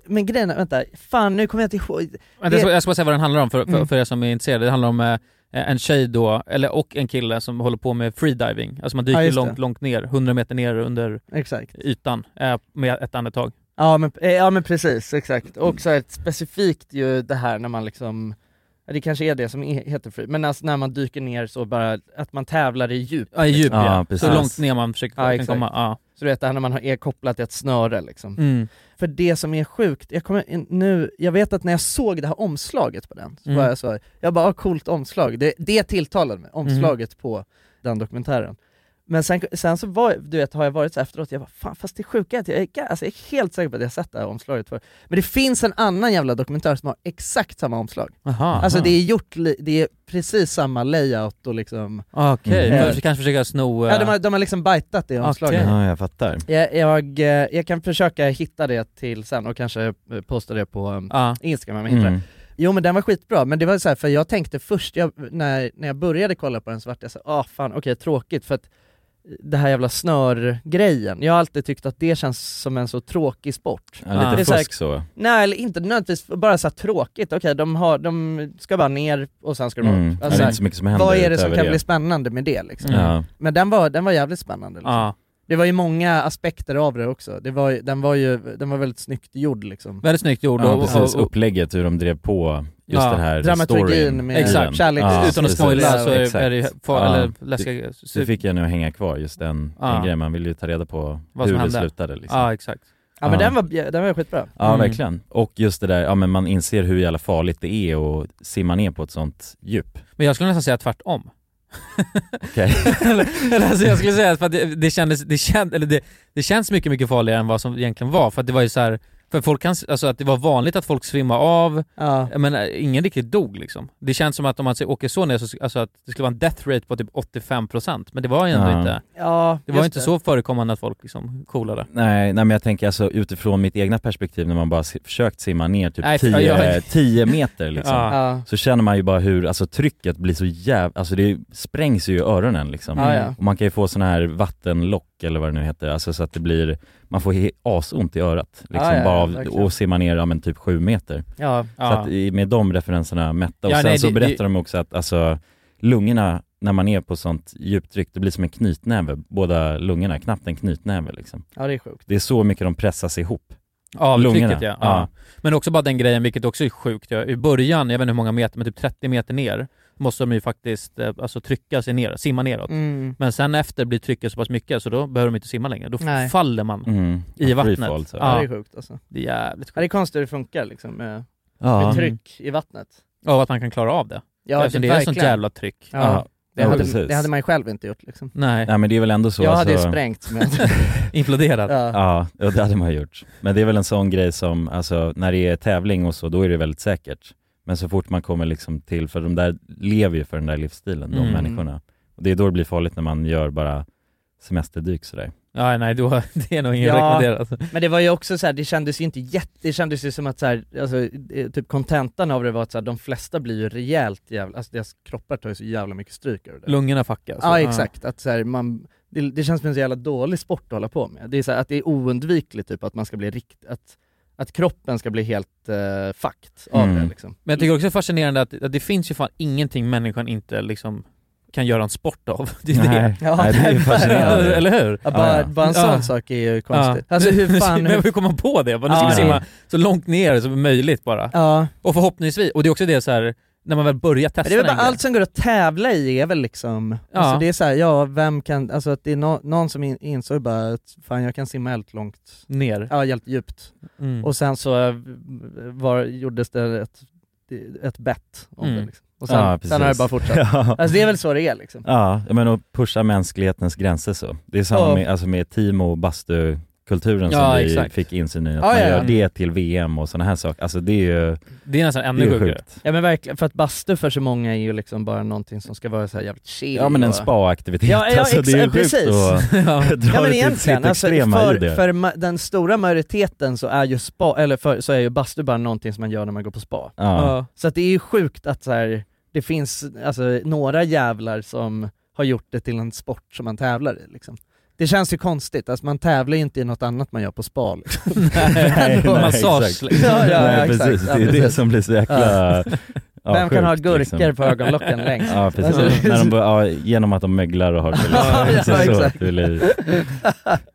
men grejen är, vänta, fan nu kommer jag inte ihåg.
Vänta, jag ska- jag ska bara säga vad den handlar om för, för,
Mm.
för er som är intresserade. Det handlar om eh, en tjej då, eller och en kille som håller på med freediving. Alltså man dyker
Ja, just det.
långt, långt ner, 100 meter ner under
Exakt.
ytan eh, med ett andetag.
Ja men, eh, ja men precis, exakt. Och så här, specifikt ju det här när man liksom, ja, det kanske är det som he- heter free, men alltså när man dyker ner så bara, att man tävlar i djup.
Ja, i djup
liksom.
ja. Så långt ner man försöker
Ja,
kan
exakt.
komma. Ja.
Så du vet det här när man har- är kopplad till ett snöre liksom.
Mm.
För det som är sjukt, jag kommer in nu, jag vet att när jag såg det här omslaget på den, så
Mm.
var jag så här, jag bara ah, coolt omslag, det, det tilltalade mig,
Mm.
omslaget på den dokumentären. Men sen, sen så var, du vet, har jag varit så här efteråt, jag bara fan fast det sjuka är att jag är, ga- alltså, jag är helt säker på att jag har sett det här omslaget för. Men det finns en annan jävla dokumentär som har exakt samma omslag.
Aha.
alltså det är gjort, li- det är precis samma layout och liksom...
Okej,
Eh,
för- kanske försöka sno... eh,
Ja, de, har, de har liksom bajtat det omslaget.
Okej.
Ja, jag fattar.
Jag, jag, eh, jag kan försöka hitta det till sen och kanske eh, posta det på um,
Ja.
Instagram om jag hittar
Mm.
det. Jo men den var skitbra, men det var så här, för jag tänkte först, jag, när, när jag började kolla på den så vart jag så här, ah fan okej tråkigt för att eh, det här jävla snörgrejen, jag har alltid tyckt att det känns som en så tråkig sport.
Ja, lite
Det är här-
fusk så.
Mm.
Nej eller inte nödvändigtvis, bara så här tråkigt, okej de, har, de ska bara ner och sen ska de
Mm.
upp. Alltså,
Ja, det är inte så mycket som händer
Vad är det som
utöver
kan
det.
bli spännande med det liksom?
Mm.
Ja.
Men den var, den var jävligt spännande liksom.
Ja.
Det var ju många aspekter av det också. Det var, ju- den var ju den var väldigt snyggt gjord liksom.
Väldigt snyggt gjord
Ja,
och-
precis.
och- och-
Upplägget, hur de drev på just
Ja,
det här
dramaturgin
storyn. Mm.
med
Exakt.
kärlek.
Utan att
precis.
spoila så är- är det ju far- eller
Det-
läskiga-
Det fick jag nog hänga kvar, just den,
Ja.
den grejen. Man vill ju ta reda på
Vad som
hur det
hände.
slutade liksom.
Ja, Mm. exakt.
Ja men
Ja.
den var, den var skitbra.
Ja verkligen. Och just det där, ja men man inser hur jävla farligt det är att simma ner på ett sånt djup.
Men jag skulle nästan säga tvärtom.
Okej.
eller, eller alltså jag skulle säga att för att det, det, kändes, det, känd, eller det, det känns mycket, mycket farligare än vad som egentligen var. För att det var ju så här, för folk kan, alltså att det var vanligt att folk svimmar av,
Ja.
men eh, ingen riktigt dog liksom. Det känns som att om man ser- åker så ner så, alltså att det skulle vara en death rate på typ 85% men det var ju ändå
Ja.
inte.
Ja,
det var
just
inte
det.
så förekommande att folk liksom coolade.
Nej, nej men jag tänker alltså utifrån mitt egna perspektiv när man bara si- försökt simma ner typ
Nej, för-
10
jag-
tio meter liksom.
Ja.
Ja.
Så känner man ju bara hur, alltså trycket blir så jävla, alltså det sprängs ju i öronen liksom.
Ja, ja.
Och man kan ju få sån här vattenlock eller vad det nu heter, alltså så att det blir, man får he- asont i örat liksom
Ja, ja, ja,
bara av,
verkligen.
och simmar ner, ja men typ sju meter.
Ja.
Så
Ja.
att i- med de referenserna mätta. Och
Ja,
sen
nej,
så
det-
berättar
det-
de också att alltså lungorna, när man är på sånt djupt tryck, det blir som en knytnäve, båda lungorna, knappt en knytnäve liksom.
Ja, det är sjukt.
Det är så mycket de pressas ihop.
Av
Lungorna.
trycket ja. ja. Men också bara den grejen, vilket också är sjukt, ja. i början, jag vet inte hur många meter, men typ 30 meter ner, måste de ju faktiskt eh, alltså, trycka sig ner, simma neråt.
Mm.
Men sen efter blir trycket så pass mycket så då behöver de inte simma längre. Då
Nej.
faller man
Mm.
i
Ja, free
vattnet.
fall, så.
Ja, det är sjukt alltså.
Det är jävligt sjukt.
Ja, det är konstigt hur det funkar liksom med,
Ja.
med tryck i vattnet.
Av att man kan klara av det.
Ja,
Eftersom
det-
det, är ett sånt
verkligen.
jävla tryck.
Ja.
Ja.
Det,
Ja,
hade,
precis.
det hade man ju själv inte gjort liksom.
Nej.
Nej men det är väl ändå så
Jag hade ju
alltså-
sprängt men...
Imploderat.
Ja.
Ja, ja, det hade man gjort. Men det är väl en sån grej som, alltså när det är tävling och så, då är det väldigt säkert. Men så fort man kommer liksom till, för de där lever ju för den där livsstilen, de
Mm.
människorna. Och det är då det blir farligt när man gör bara semesterdyk sådär.
Ja, nej, då, det är nog inget rekommenderat. Alltså,
men det var ju också så här, det kändes ju inte jätte, det kändes ju som att så här, alltså, eh, typ kontentan av det var att så här, de flesta blir ju rejält jävla, alltså deras kroppar tar ju så jävla mycket stryk över det.
Lungorna alltså. fuckas.
Ja exakt, att så här, man, det, det känns som en så jävla dålig sport att hålla på med. Det är så här, att det är oundvikligt typ att man ska bli rikt, att, att kroppen ska bli helt uh, fucked av
Mm.
det liksom.
Men jag tycker också det är fascinerande att, att det finns ju fan ingenting människan inte liksom kan göra en sport av. Det är
Nej.
det.
Ja, Nej, det är ju fascinerande.
Eller hur?
Ja, bara, bara en sån sak är ju konstigt. Alltså hur fan...
Men hur kommer man på det? Bara, Nu ska
Ja,
vi
ja.
simma så långt ner som möjligt bara.
Ja.
Och förhoppningsvis, och det är också det så här när man väl börjar
Men
testa
det är väl
en
bara
grej.
allt som går att tävla i är väl liksom,
Ja.
alltså det är såhär, ja vem kan, alltså att det är no, någon som in, insåg bara att fan jag kan simma helt långt
Ner.
Ja, helt djupt.
Mm.
Och sen så eh, var, gjordes det ett, ett bett om
Mm.
det liksom. Och sen,
Ja,
sen har det
precis.
bara fortsatt.
Ja.
Alltså det är väl så det är liksom.
Ja, jag menar att pusha mänsklighetens gränser så. Det är samma
Ja.
med, alltså med Timo och bastukulturen
Ja,
som vi
exakt.
fick insyn i, att
Ja,
man
ja,
gör
ja.
det till VM och sådana här saker. Alltså det är ju...
Det är nästan ännu
det är ju
sjukare.
sjukt.
Ja men verkligen, för att bastu för så många är ju liksom bara någonting som ska vara så här jävligt chill
Ja men en
och-
spa-aktivitet,
Ja, ja
alltså, det är ju sjukt
precis.
att dra
ja, men
det till sitt
egentligen, alltså,
extrema i
för,
det.
för ma- den stora majoriteten så är ju spa, eller för, så är ju bastu bara någonting som man gör när man går på spa.
Ja. Ja.
Så att det är ju sjukt att så här, det finns alltså, några jävlar som har gjort det till en sport som man tävlar i liksom. Det känns ju konstigt, alltså man tävlar ju inte i något annat man gör på spa liksom.
Nej, nej, exakt.
Ja, ja,
nej,
exakt.
precis.
Ja,
det är det
precis.
som blir så jäkla...
Ja. Vem kan ha
liksom.
gurkor på ögonlocken längst?
Ja, precis.
Alltså-
När de, bara- ja, genom att de möglar och har det
Ja,
liksom.
ja,
så, så,
exakt.
att det blir-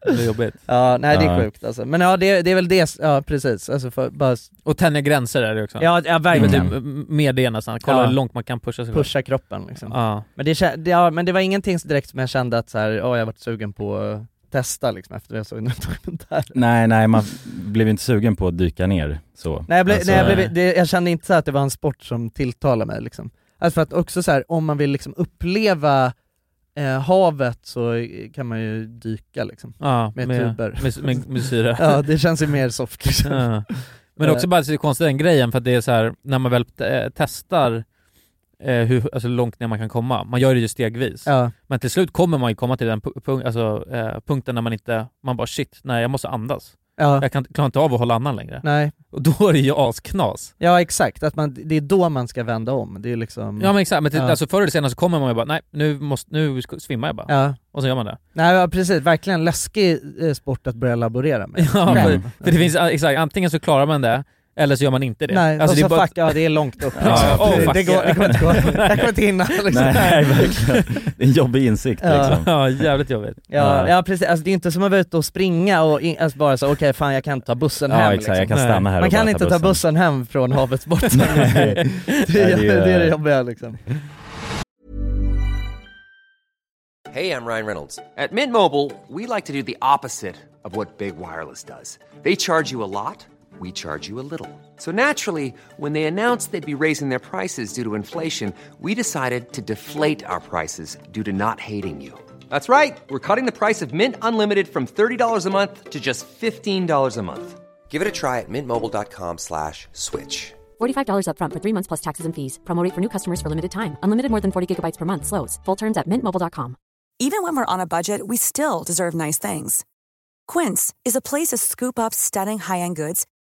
Det är jobbigt.
Ja, nej det är
Ja.
sjukt alltså. Men ja, det, det är väl det, ja precis. Alltså för, bara
Och tänja gränser är det också.
Ja, ja, verkligen.
Det är väl typ Mer det nästan, kolla
Ja.
hur långt man kan pusha sig själv.
pusha kroppen liksom.
Ja.
Men, det, kä- det, ja, men det var ingenting så direkt som jag kände att så här, "Åh, jag har varit sugen på att testa liksom efter jag såg den här dokumentären.
Nej, nej, man blev ju inte sugen på att dyka ner så.
Nej, jag, blev,
Alltså,
nej, jag, blev, det, jag kände inte så här att det var en sport som tilltalade mig liksom. Alltså för att också så här, om man vill liksom uppleva eh, havet så eh, kan man ju dyka liksom.
Ja,
med,
med-
tuber.
med- med- med syre.
ja, det känns ju mer soft liksom.
Ja. Men
Eh.
också bara så konstigt den grejen för att det är så här när man väl eh, testar eh, hur alltså, hur långt ner man kan komma, man gör det ju stegvis.
Ja.
Men till slut kommer man ju komma till den pu- punk- alltså, eh, punkten när man inte, man bara shit, nej jag måste andas.
Ja.
Jag kan, klarar inte av att hålla andan längre.
Nej.
Och då är det ju asknas.
Ja exakt, att man, det är då man ska vända om. Det är liksom...
Ja men exakt, men till,
Ja.
alltså, förr eller senare så kommer man ju bara nej nu, måste, nu sk- svimmar jag bara.
Ja.
Och så gör man det.
Nej ja, precis, verkligen läskig eh, sport att börja laborera med.
Ja,
Men-
för, för det finns, ah, exakt, antingen så klarar man det, eller så gör man inte det.
Nej,
alltså,
och
det
så
är bara-
fuck, ja det är långt upp.
Ja,
liksom.
oh,
det,
fuck.
det, går, det kommer inte gå, jag kommer inte hinna liksom.
Nej, verkligen. Det är en jobbig insikt
Ja.
liksom.
Ja, jävligt jobbigt.
Ja, ja precis, alltså, det är inte som att vara ute och springa och in, alltså, bara så okej fan jag kan ta bussen
Ja,
hem
exakt, jag kan
liksom.
stanna här och
Man kan
bara ta
inte ta bussen.
bussen.
hem från havets botten.
Nej.
det,
Nej,
är, det
det är-
är det jobbiga liksom.
Hey, I'm Ryan Reynolds. At Mint Mobile, we like to do the opposite of what Big Wireless does. They charge you a lot, we charge you a little. So naturally, when they announced they'd be raising their prices due to inflation, we decided to deflate our prices due to not hating you. That's right. We're cutting the price of Mint Unlimited from $30 a month to just $15 a month. Give it a try at mintmobile.com slash switch.
$45 upfront for three months plus taxes and fees. Promo rate for new customers for limited time. Unlimited more than 40 gigabytes per month. Slows. Full terms at mintmobile.com.
Even when we're on a budget, we still deserve nice things. Quince is a place to scoop up stunning high-end goods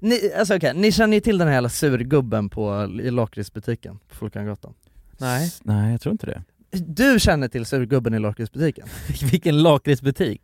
Ni, alltså okej, ni känner ju till den här jävla surgubben på, i lakritsbutiken på Folkungagatan? Nej?
Nej, jag tror inte det.
Du känner till surgubben i lakritsbutiken?
Vilken lakritsbutik?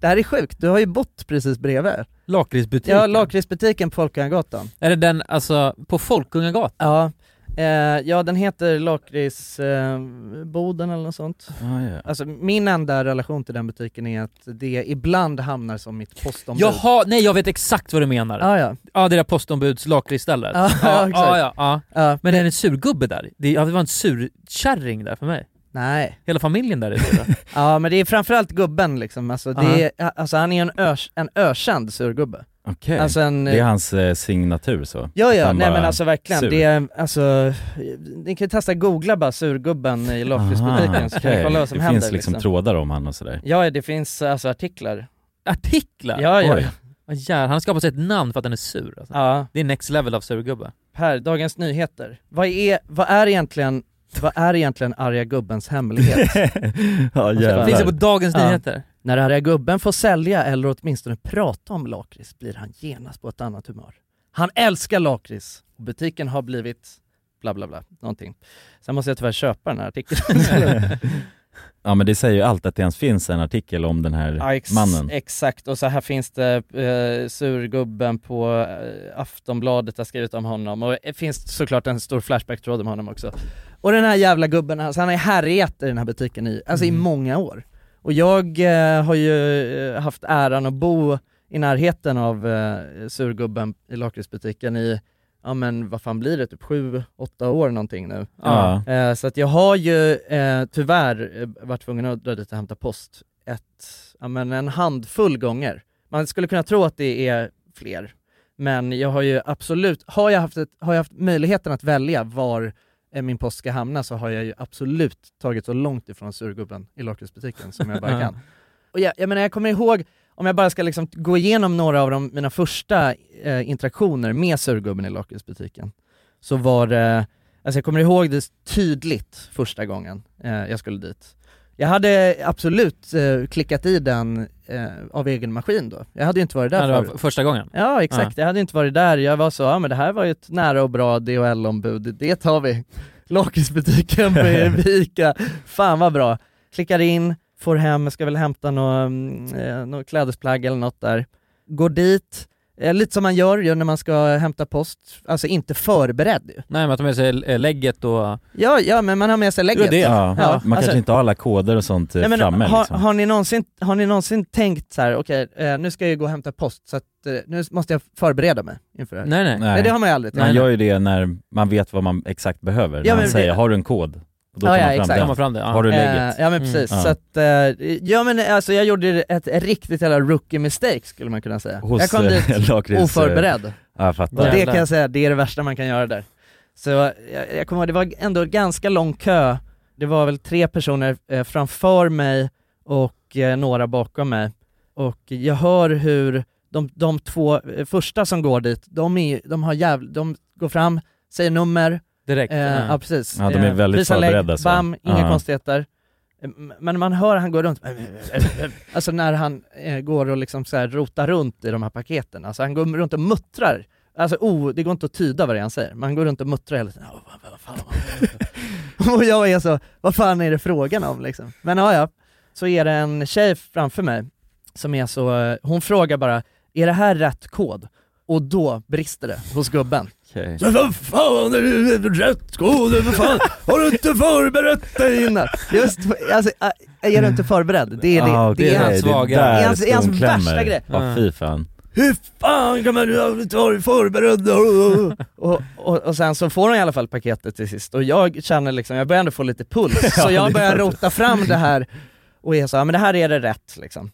det här är sjukt, du har ju bott precis bredvid.
Lakritsbutiken?
Ja, lakritsbutiken på Folkungagatan.
Är det den, alltså, på Folkungagatan?
Ja, eh, ja den heter Lakritsboden eh, Boden eller något sånt.
Ah, ja.
Alltså min enda relation till den butiken är att det ibland hamnar som mitt postombud.
Jaha, nej jag vet exakt vad du menar.
Ja, ja.
Ja, det där postombuds lakritsstället.
Ja,
ja,
exakt.
ja, ja.
Ja.
Men det är en surgubbe där. Det, ja, det var en surkärring där för mig.
Nej.
Hela familjen där är det. då.
Ja men det är framförallt gubben liksom, alltså, det är, alltså han är en, örs, en ökänd surgubbe.
Okej.
Alltså en,
det är hans eh, signatur så?
Ja ja,
Han
nej
bara
men alltså verkligen,
sur.
det är, alltså, ni kan ju testa googla bara surgubben i lakritsbutiken så kan ni
okej.
kolla vad som
det
händer
finns liksom, trådar om han och sådär.
Ja det finns alltså artiklar.
Artiklar?
Ja ja,
Oj.
Vad jävlar, Han har skapat sig ett namn för att den är sur alltså.
ja.
Det är next level av surgubbe.
Per, Dagens Nyheter. Vad är, vad är egentligen, vad är egentligen arga gubbens hemlighet?
ja
Alltså,
jävlar.
Finns det på Dagens
Ja.
Nyheter?
När arga gubben får sälja eller åtminstone prata om lakrits blir han genast på ett annat humör. Han älskar lakrits och butiken har blivit bla bla bla, någonting. Sen måste jag tyvärr köpa den här artikeln.
Ja men det säger ju allt att det ens finns en artikel om den här
Ja, ex-
mannen.
Exakt, och så här finns det eh, surgubben på eh, Aftonbladet har skrivit om honom och det finns såklart en stor flashback-tråd om honom också. Och den här jävla gubben, alltså, han har ju härjat i den här butiken i, alltså, i många år. Och jag eh, har ju eh, haft äran att bo i närheten av eh, surgubben i lakritsbutiken i, ja men vad fan blir det, typ sju, åtta år någonting nu.
Ja.
Eh, så att jag har ju eh, tyvärr eh, varit tvungen att dra dit och hämta post ett, ja men en handfull gånger. Man skulle kunna tro att det är fler, men jag har ju absolut, har jag haft, ett, har jag haft möjligheten att välja var eh, min post ska hamna så har jag ju absolut tagit så långt ifrån surgubben i lakritsbutiken som jag bara kan. Och jag, jag menar, jag kommer ihåg, om jag bara ska liksom gå igenom några av de, mina första eh, interaktioner med surgubben i lakritsbutiken, så var det, alltså jag kommer ihåg det tydligt första gången eh, jag skulle dit. Jag hade absolut eh, klickat i den eh, av egen maskin då. Jag hade ju inte varit där
Nej, det var
förut.
första gången.
Ja exakt, jag hade inte varit där. Jag var så, ja men det här var ju ett nära och bra DHL-ombud, det tar vi. Lakritsbutiken på Ica, fan vad bra. Klickar in, får hem, ska väl hämta något eh, nå klädesplagg eller något där. Går dit, eh, lite som man gör ju när man ska hämta post, alltså inte förberedd ju.
Nej men att de är så eh, lägget och...
Ja, ja men man har med sig lägget.
Ja,
Ja,
man kanske
alltså-
inte har alla koder och sånt eh,
Nej, men
framme
har,
liksom.
har, ni någonsin, har ni någonsin tänkt så här, okej eh, nu ska jag ju gå och hämta post så att eh, nu måste jag förbereda mig inför det här.
Nej nej.
Nej, det har man ju aldrig
Man
tänkt.
gör ju det när man vet vad man exakt behöver.
Ja,
när
men
man säger,
det-
har du en kod? Och då
Ja,
tar man
ja,
fram
exakt.
den.
Tar man fram det, ja.
Har du lägget?
Eh, ja men precis,
Mm.
så att, eh, ja men alltså jag gjorde ett riktigt jävla rookie mistake skulle man kunna säga.
Hos,
jag kom
eh,
dit
lakrits, eh,
oförberedd.
Ja, jag
Och
fattar.
det kan jag säga, det är det värsta man kan göra där. Så jag, jag kommer ihåg, det var ändå ganska lång kö, det var väl tre personer eh, framför mig och eh, några bakom mig. Och jag hör hur de, de två eh, första som går dit, de, är, de, har jävla, de går fram, säger nummer,
Direkt.
Eh,
ja.
ja precis.
Mm. Ja, de är
Eh,
väldigt
visa
förberedda, så.
bam, inga
Ja.
konstigheter. Eh, Men man hör han går runt, alltså när han eh, går och liksom så här rotar runt i de här paketen, alltså han går runt och muttrar. Alltså oh, det går inte att tyda vad det är han säger, men han går runt och muttrar hela tiden. "Åh, vad- vad fan, vad- vad-" Och jag är så, vad fan är det frågan om liksom? Men ja, ja, så är det en tjej framför mig som är så, eh, hon frågar bara, är det här rätt kod? Och då brister det hos gubben.
Okej.
Så vad fan är det rätt kod? Vad fan? Har du inte förberett dig innan? Just, alltså, äh, är du inte förberedd? Det är, det,
Ah,
det
okej,
är hans
Det
Det är
är
hans, det är hans värsta grej.
Ja, fy fan.
Hur fan kan man inte ha dig förberedd? och, och, och sen så får hon i alla fall paketet till sist och jag känner liksom, jag börjar ändå få lite puls så jag börjar rota fram det här och är så, ja men det här är det rätt liksom.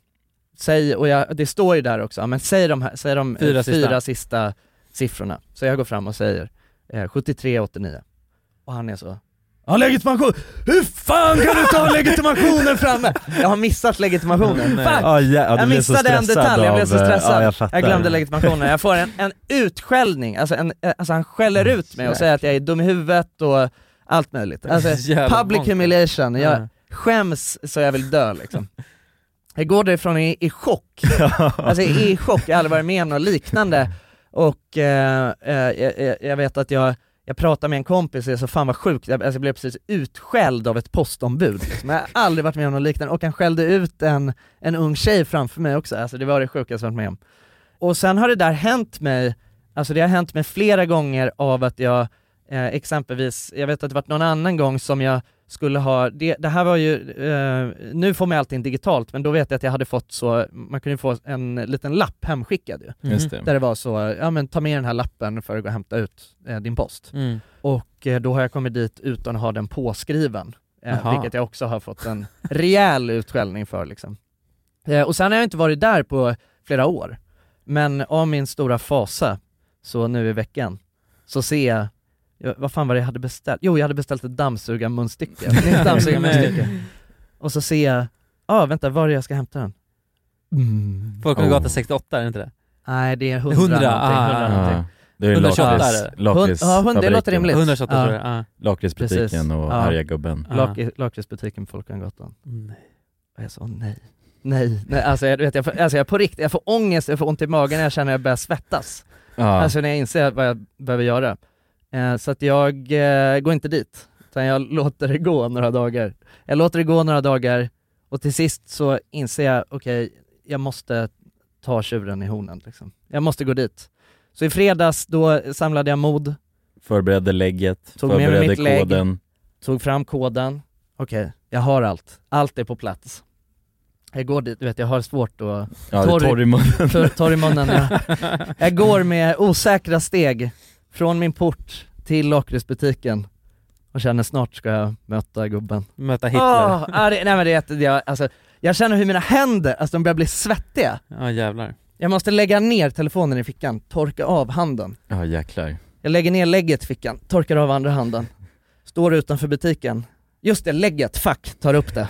Säg, och jag, det står ju där också, ja, men säg de, här, säg de eh,
Fyra sista.
fyra sista siffrorna. Så jag går fram och säger eh, 73, 89. Och han är så, ja legitimation! Hur fan kan du ta legitimationen framme? Jag har missat legitimationen,
Nej.
fuck!
Ja, Ah, ja, du
jag
blev så
missade en
stressad
detalj, jag blev
av, eh,
så stressad.
ja, jag
jag,
fattar.
glömde legitimationen, jag får en, en utskällning, alltså, en, eh, alltså han skäller
Mm.
ut mig och
Nej.
säger att jag är dum i huvudet och allt möjligt. Alltså,
Jävla
public
monster.
humiliation,
Ja.
jag skäms så jag vill dö liksom. Jag går därifrån i, i chock, alltså i chock, jag har aldrig varit med om något liknande. Och eh, eh, jag, jag vet att jag, jag pratade med en kompis och jag sa fan vad sjukt, jag, alltså, jag blev precis utskälld av ett postombud. Liksom. Jag har aldrig varit med om något liknande, och han skällde ut en, en ung tjej framför mig också, alltså det var det sjukaste jag varit med om. Och sen har det där hänt mig, alltså det har hänt mig flera gånger av att jag eh, exempelvis, jag vet att det varit någon annan gång som jag skulle ha, det, det här var ju, eh, nu får man ju allting digitalt men då vet jag att jag hade fått så, man kunde ju få en liten lapp hemskickad ju.
Mm. Just det.
Där det var så, ja men ta med den här lappen för att gå och hämta ut eh, din post.
Mm.
Och eh, då har jag kommit dit utan att ha den påskriven, eh,
Jaha.
vilket jag också har fått en rejäl utskällning för liksom. Eh, och sen har jag inte varit där på flera år. Men av min stora fasa, så nu i veckan, så ser jag jag- vad fan var det jag hade beställt? Jo, jag hade beställt ett dammsugarmunstycke, ett nytt dammsugarmunstycke. Och så ser jag, ja ah, vänta, var är det jag ska hämta den?
Folkungagatan 68, är det inte det?
Nej det är 100,
100,
100 någonting, 100
ah, ah,
någonting.
Det är lakrits- lakrits-
Hund- ja, hund- det låter
fabriken.
rimligt.
128 tror jag, ah.
Lakritsbutiken
Precis.
och arga gubben.
Ja. Lak- Lakritsbutiken på Folkungagatan.
Nej.
Och jag sa nej. Nej, nej alltså, jag, du vet, jag, får, alltså jag på riktigt, jag får ångest, jag får ont i magen, jag känner att jag börjar svettas.
Ja.
Alltså när jag inser vad jag behöver göra. Eh, så att jag eh, går inte dit, utan jag låter det gå några dagar. Jag låter det gå några dagar och till sist så inser jag, okej, jag måste ta tjuren i hornen liksom. Jag måste gå dit. Så i fredags då samlade jag mod,
Förberedde lägget,
Tog med mig
förberedde
mitt lägg.
koden.
tog fram koden, okej, jag har allt. Allt är på plats. Jag går dit, du vet jag har svårt att...
Ja, det är torr i munnen.
Torr, torr i munnen ja. Jag går med osäkra steg från min port till lakritsbutiken och känner snart ska jag möta gubben.
Möta
Åh,
Hitler.
ja, det, nej men det, är- det, jag, alltså, jag känner hur mina händer, alltså de börjar bli svettiga.
Ja jävlar.
Jag måste lägga ner telefonen i fickan, torka av handen.
Ja jäklar.
Jag lägger ner lägget i fickan, torkar av andra handen. Står utanför butiken. Just det, lägget, fuck, tar upp det.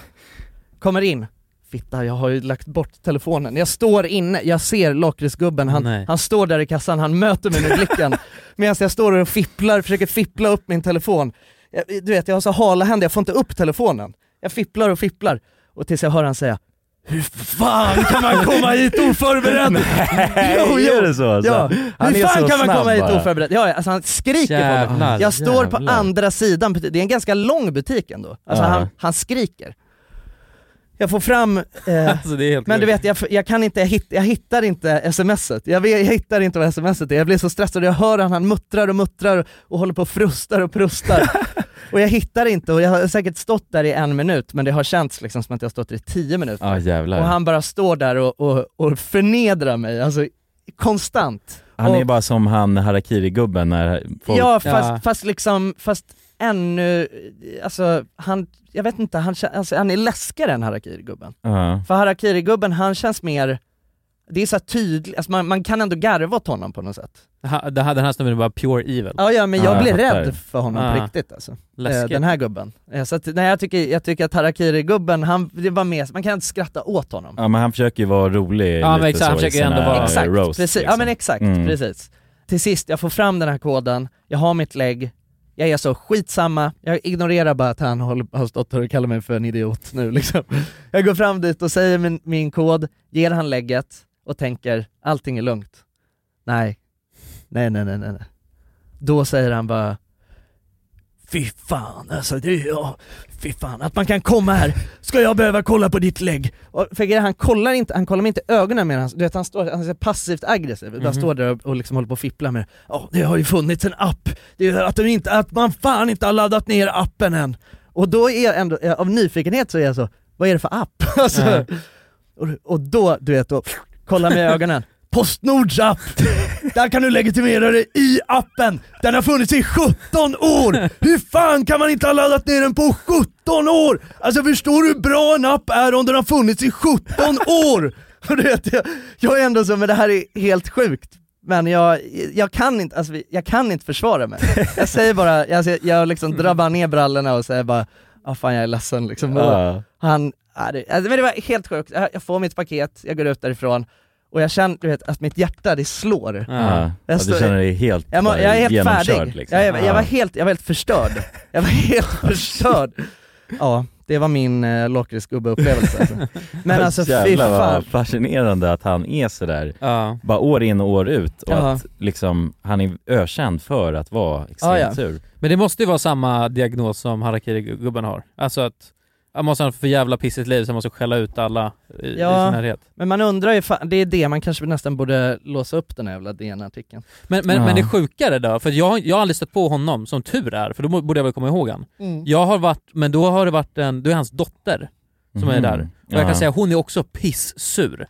Kommer in. Fitta, jag har ju lagt bort telefonen. Jag står inne, jag ser lakritsgubben, han,
Nej.
han står där i kassan, han möter mig med blicken. Medan jag står och fipplar, försöker fippla upp min telefon. Jag, du vet, jag har så hala händer, jag får inte upp telefonen. Jag fipplar och fipplar. Och tills jag hör han säga Hur fan kan man komma hit oförberedd?
Nej, är det så alltså?
Ja.
Han
Hur
är
fan
så
kan man
snabb
komma hit
bara.
oförberedd? Ja, ja, alltså han skriker på
Jävlar,
mig. Jag står på
jävlar.
andra sidan, det är en ganska lång butik ändå. Alltså
Ja.
han, han skriker. Jag får fram, eh,
Alltså det är helt
men du
sjukt.
vet jag, f- jag kan inte, jag, hit, jag hittar inte smset. Jag, vet- jag hittar inte vad smset är, jag blir så stressad. Jag hör han, han muttrar och muttrar och, och håller på och frustar och prustar. och jag hittar inte och jag har säkert stått där i en minut men det har känts liksom som att jag har stått där i tio minuter.
Ja jävlar.
Och han bara står där och, och, och förnedrar mig, alltså konstant.
Han är
Och-
bara som han harakiri-gubben när folk...
Ja fast, fast liksom, fast ännu, alltså han, jag vet inte, han, kän- alltså, han är läskigare än harakiri-gubben.
Ja.
För harakiri-gubben han känns mer, det är så här tydligt, alltså, man, man kan ändå garva åt honom på något sätt.
Ha- det här- Den här snubben är bara pure evil.
Ja, ja men jag blir rädd för honom
Ah.
på riktigt alltså. Eh,
Läskigt.
Den här gubben. Eh, Så att, nej, jag, tycker, jag tycker att harakiri-gubben, han, det var mer, man kan inte skratta åt honom.
ja men han försöker ju vara rolig
Ja, men
lite så
exakt, han
i
försöker
sina
ändå vara-
eh,
Exakt,
roasts,
precis. Ja
liksom.
men exakt,
Mm.
precis. Till sist, jag får fram den här koden, jag har mitt lägg, jag är så skitsamma, jag ignorerar bara att han håller, har stått här och kallat mig för en idiot nu liksom. Jag går fram dit och säger min, min kod, ger han lägget och tänker allting är lugnt. Nej, nej nej nej nej. nej. Då säger han bara Fy fan alltså, det är jag. Fy fan att man kan komma här, ska jag behöva kolla på ditt lägg? Och för grejen är, han kollar inte, han kollar mig inte i ögonen medan han, du vet han står, han är så passivt aggressiv, bara
Mhm.
står där och, och liksom håller på och fipplar med det. Ja det har ju funnits en app, det är ju att, de inte, att man fan inte har laddat ner appen än. Och då är jag ändå, av nyfikenhet så är jag så, vad är det för app? Alltså, och, och då, du vet, då kollar mig i ögonen.
Postnords app. Där kan du legitimera dig i appen. Den har funnits i 17 år! Hur fan kan man inte ha laddat ner den på 17 år? Alltså förstår du hur bra en app är om den har funnits i 17 år?
Och du vet, jag, jag är ändå så, men det här är helt sjukt. Men jag, jag, kan, inte, alltså, vi- jag kan inte försvara mig. Jag säger bara, jag, jag, jag liksom drar bara ner brallorna och säger bara ah, fan jag är ledsen liksom.
Ja.
Och Han, ah, det, alltså, men det var helt sjukt. Jag, jag får mitt paket, jag går ut därifrån och jag känner du vet, att mitt hjärta det slår.
Ja. Ja, du
står-
känner dig helt
jag, må,
bara
jag är helt
genomkörd,
färdig.
liksom.
Jag, jag, jag, var
Ja.
helt, jag var helt förstörd. Jag var helt förstörd. Ja, det var min eh, lakritsgubbe-upplevelse alltså. Men alltså fy
Jävlar
fan.
vad fascinerande att han är sådär,
ja.
bara år in och år ut och
Ja.
att liksom, han är ökänd för att vara extremt sur.
Men det måste ju vara samma diagnos som harakiri-gubben har. Alltså att han måste ha ett för jävla pissigt liv så han måste skälla ut alla i, i sin närhet.
men man undrar ju, fan, det är det, man kanske nästan borde låsa upp den här jävla DN-artikeln.
Men, men, men det sjukare då, för jag, jag har aldrig stött på honom som tur är, för då må- borde jag väl komma ihåg han.
Mm.
Jag har varit, men då har det varit en, då är hans dotter som är
Mhm.
där.
Mm.
Och jag
Ja.
kan säga hon är också pissur.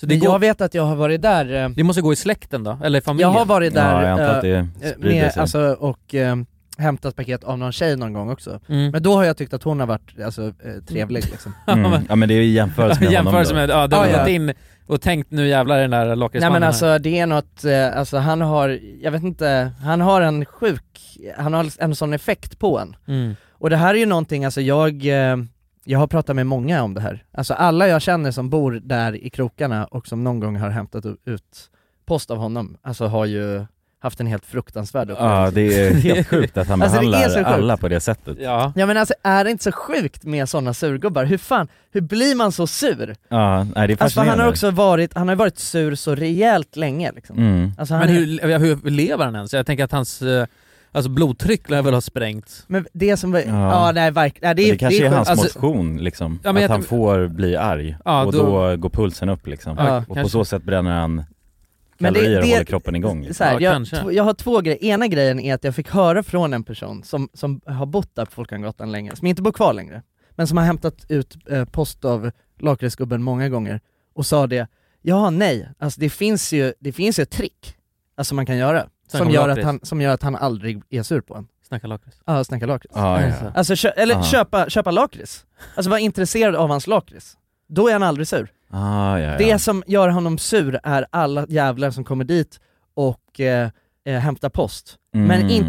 Så det,
Men jag
går,
vet att jag har varit där... eh,
det måste gå i släkten då, eller i familjen.
Jag har varit där
jag antar att det
eh,
sprider
med,
sig.
alltså, och eh, hämtat paket av någon tjej någon gång också.
Mm.
Men då har jag tyckt att hon har varit alltså, eh, trevlig liksom.
Mm. Ja men det är ju jämförelse med
Jämförelse
honom
med,
då.
ja, du har
Ah, Ja, ja.
gått in och tänkt nu jävlar är den där
Nej
lakritsmannen
men
här.
alltså det är något, eh, alltså han har, jag vet inte, han har en sjuk, han har en sån effekt på en.
Mm.
Och det här är ju någonting, alltså jag, eh, jag har pratat med många om det här. Alltså alla jag känner som bor där i krokarna och som någon gång har hämtat u- ut post av honom, alltså har ju haft en helt fruktansvärd upplevelse.
Ja det är helt sjukt att han
Alltså, det är
behandlar
så sjukt.
alla på det sättet.
Ja.
Ja men alltså är det inte så sjukt med sådana surgubbar? Hur fan, hur blir man så sur?
Ja, nej, det är fascinerande.
Alltså för han har också varit, han har varit sur så rejält länge liksom.
Mm.
Alltså, han
men
är-
hur, hur lever han ens? Jag tänker att hans eh, alltså, blodtryck lär väl ha sprängt.
Men det som var, ja,
Ja.
nej verkligen, nej,
det,
det,
kanske
det
är, hans
sjukt. Alltså,
motion liksom,
Ja, men jag
att han
tror-
får bli arg
Ja,
och
då-
då... går pulsen upp liksom.
Ja,
och på
kanske.
så sätt bränner han
Men det-
kalorier och
det-
håller kroppen igång. Liksom.
Så här, jag, tv- jag har två grejer, ena grejen är att jag fick höra från en person som, som har bott där på Folkungagatan länge, som inte bor kvar längre, men som har hämtat ut eh, post av lakritsgubben många gånger och sa det, ja nej, alltså det finns ju, det finns ju ett trick alltså man kan göra,
Snacka
som
om
gör, att
lakrits.
han, som gör att han aldrig är sur på en.
Snacka lakrits.
Ja, snacka lakrits.
Ja, ja, ja.
Alltså, kö- eller
Ja.
köpa, köpa lakrits. Alltså var intresserad av hans lakrits. Då är han aldrig sur.
Ah, ja, ja.
Det som gör honom sur är alla jävlar som kommer dit och eh, eh, hämtar post. Men
Mm.
inte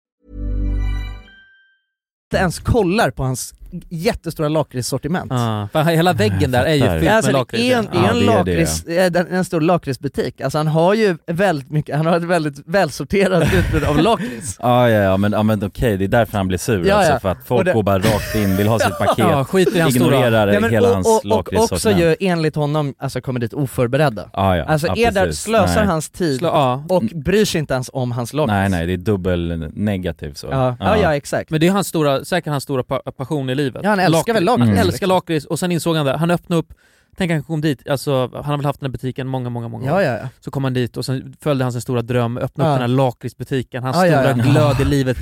ens kollar på hans jättestora lakritssortiment.
Ah, för hela väggen där är ju fylld med lakrits.
Alltså, Det är en, det är en, lakrits, eh, den- en stor lakritsbutik. Alltså han har ju väldigt mycket, han har ett väldigt välsorterat utbud av lakrits.
Ja, Ah, ja, ja, men, ja, men okej, det är därför han blir sur
Ja,
alltså,
ja.
för att
Och
folk
det-
går bara rakt in, vill ha sitt paket,
Ja, skit i hans stora-
ignorerar
Nej, men
hela
och,
hans
och, och också
lakritssortiment.
ju enligt honom, alltså kommer dit oförberedda.
Ah, Ja, ja.
Alltså
Ja,
är där,
precis.
slösar
Nej.
hans tid
Slö- ja.
och bryr sig inte ens om hans lakrits.
Nej, nej, det är dubbel negativ så.
Ja. Ja, ja, exakt.
Men det är hans stora, säkert hans stora pa- passion i livet.
Ja, han älskar väl lakrits,
Han
Mm.
liksom.
älskar lakrits och sen insåg han det, han öppnade upp, tänk han kom dit, alltså, han har väl haft den här butiken många, många, många
Ja,
år.
ja, ja.
Så kom han dit och sen följde han sin stora dröm, öppna
Ja.
upp den här lakritsbutiken, hans
Ja, ja,
stora
ja.
glöd i livet,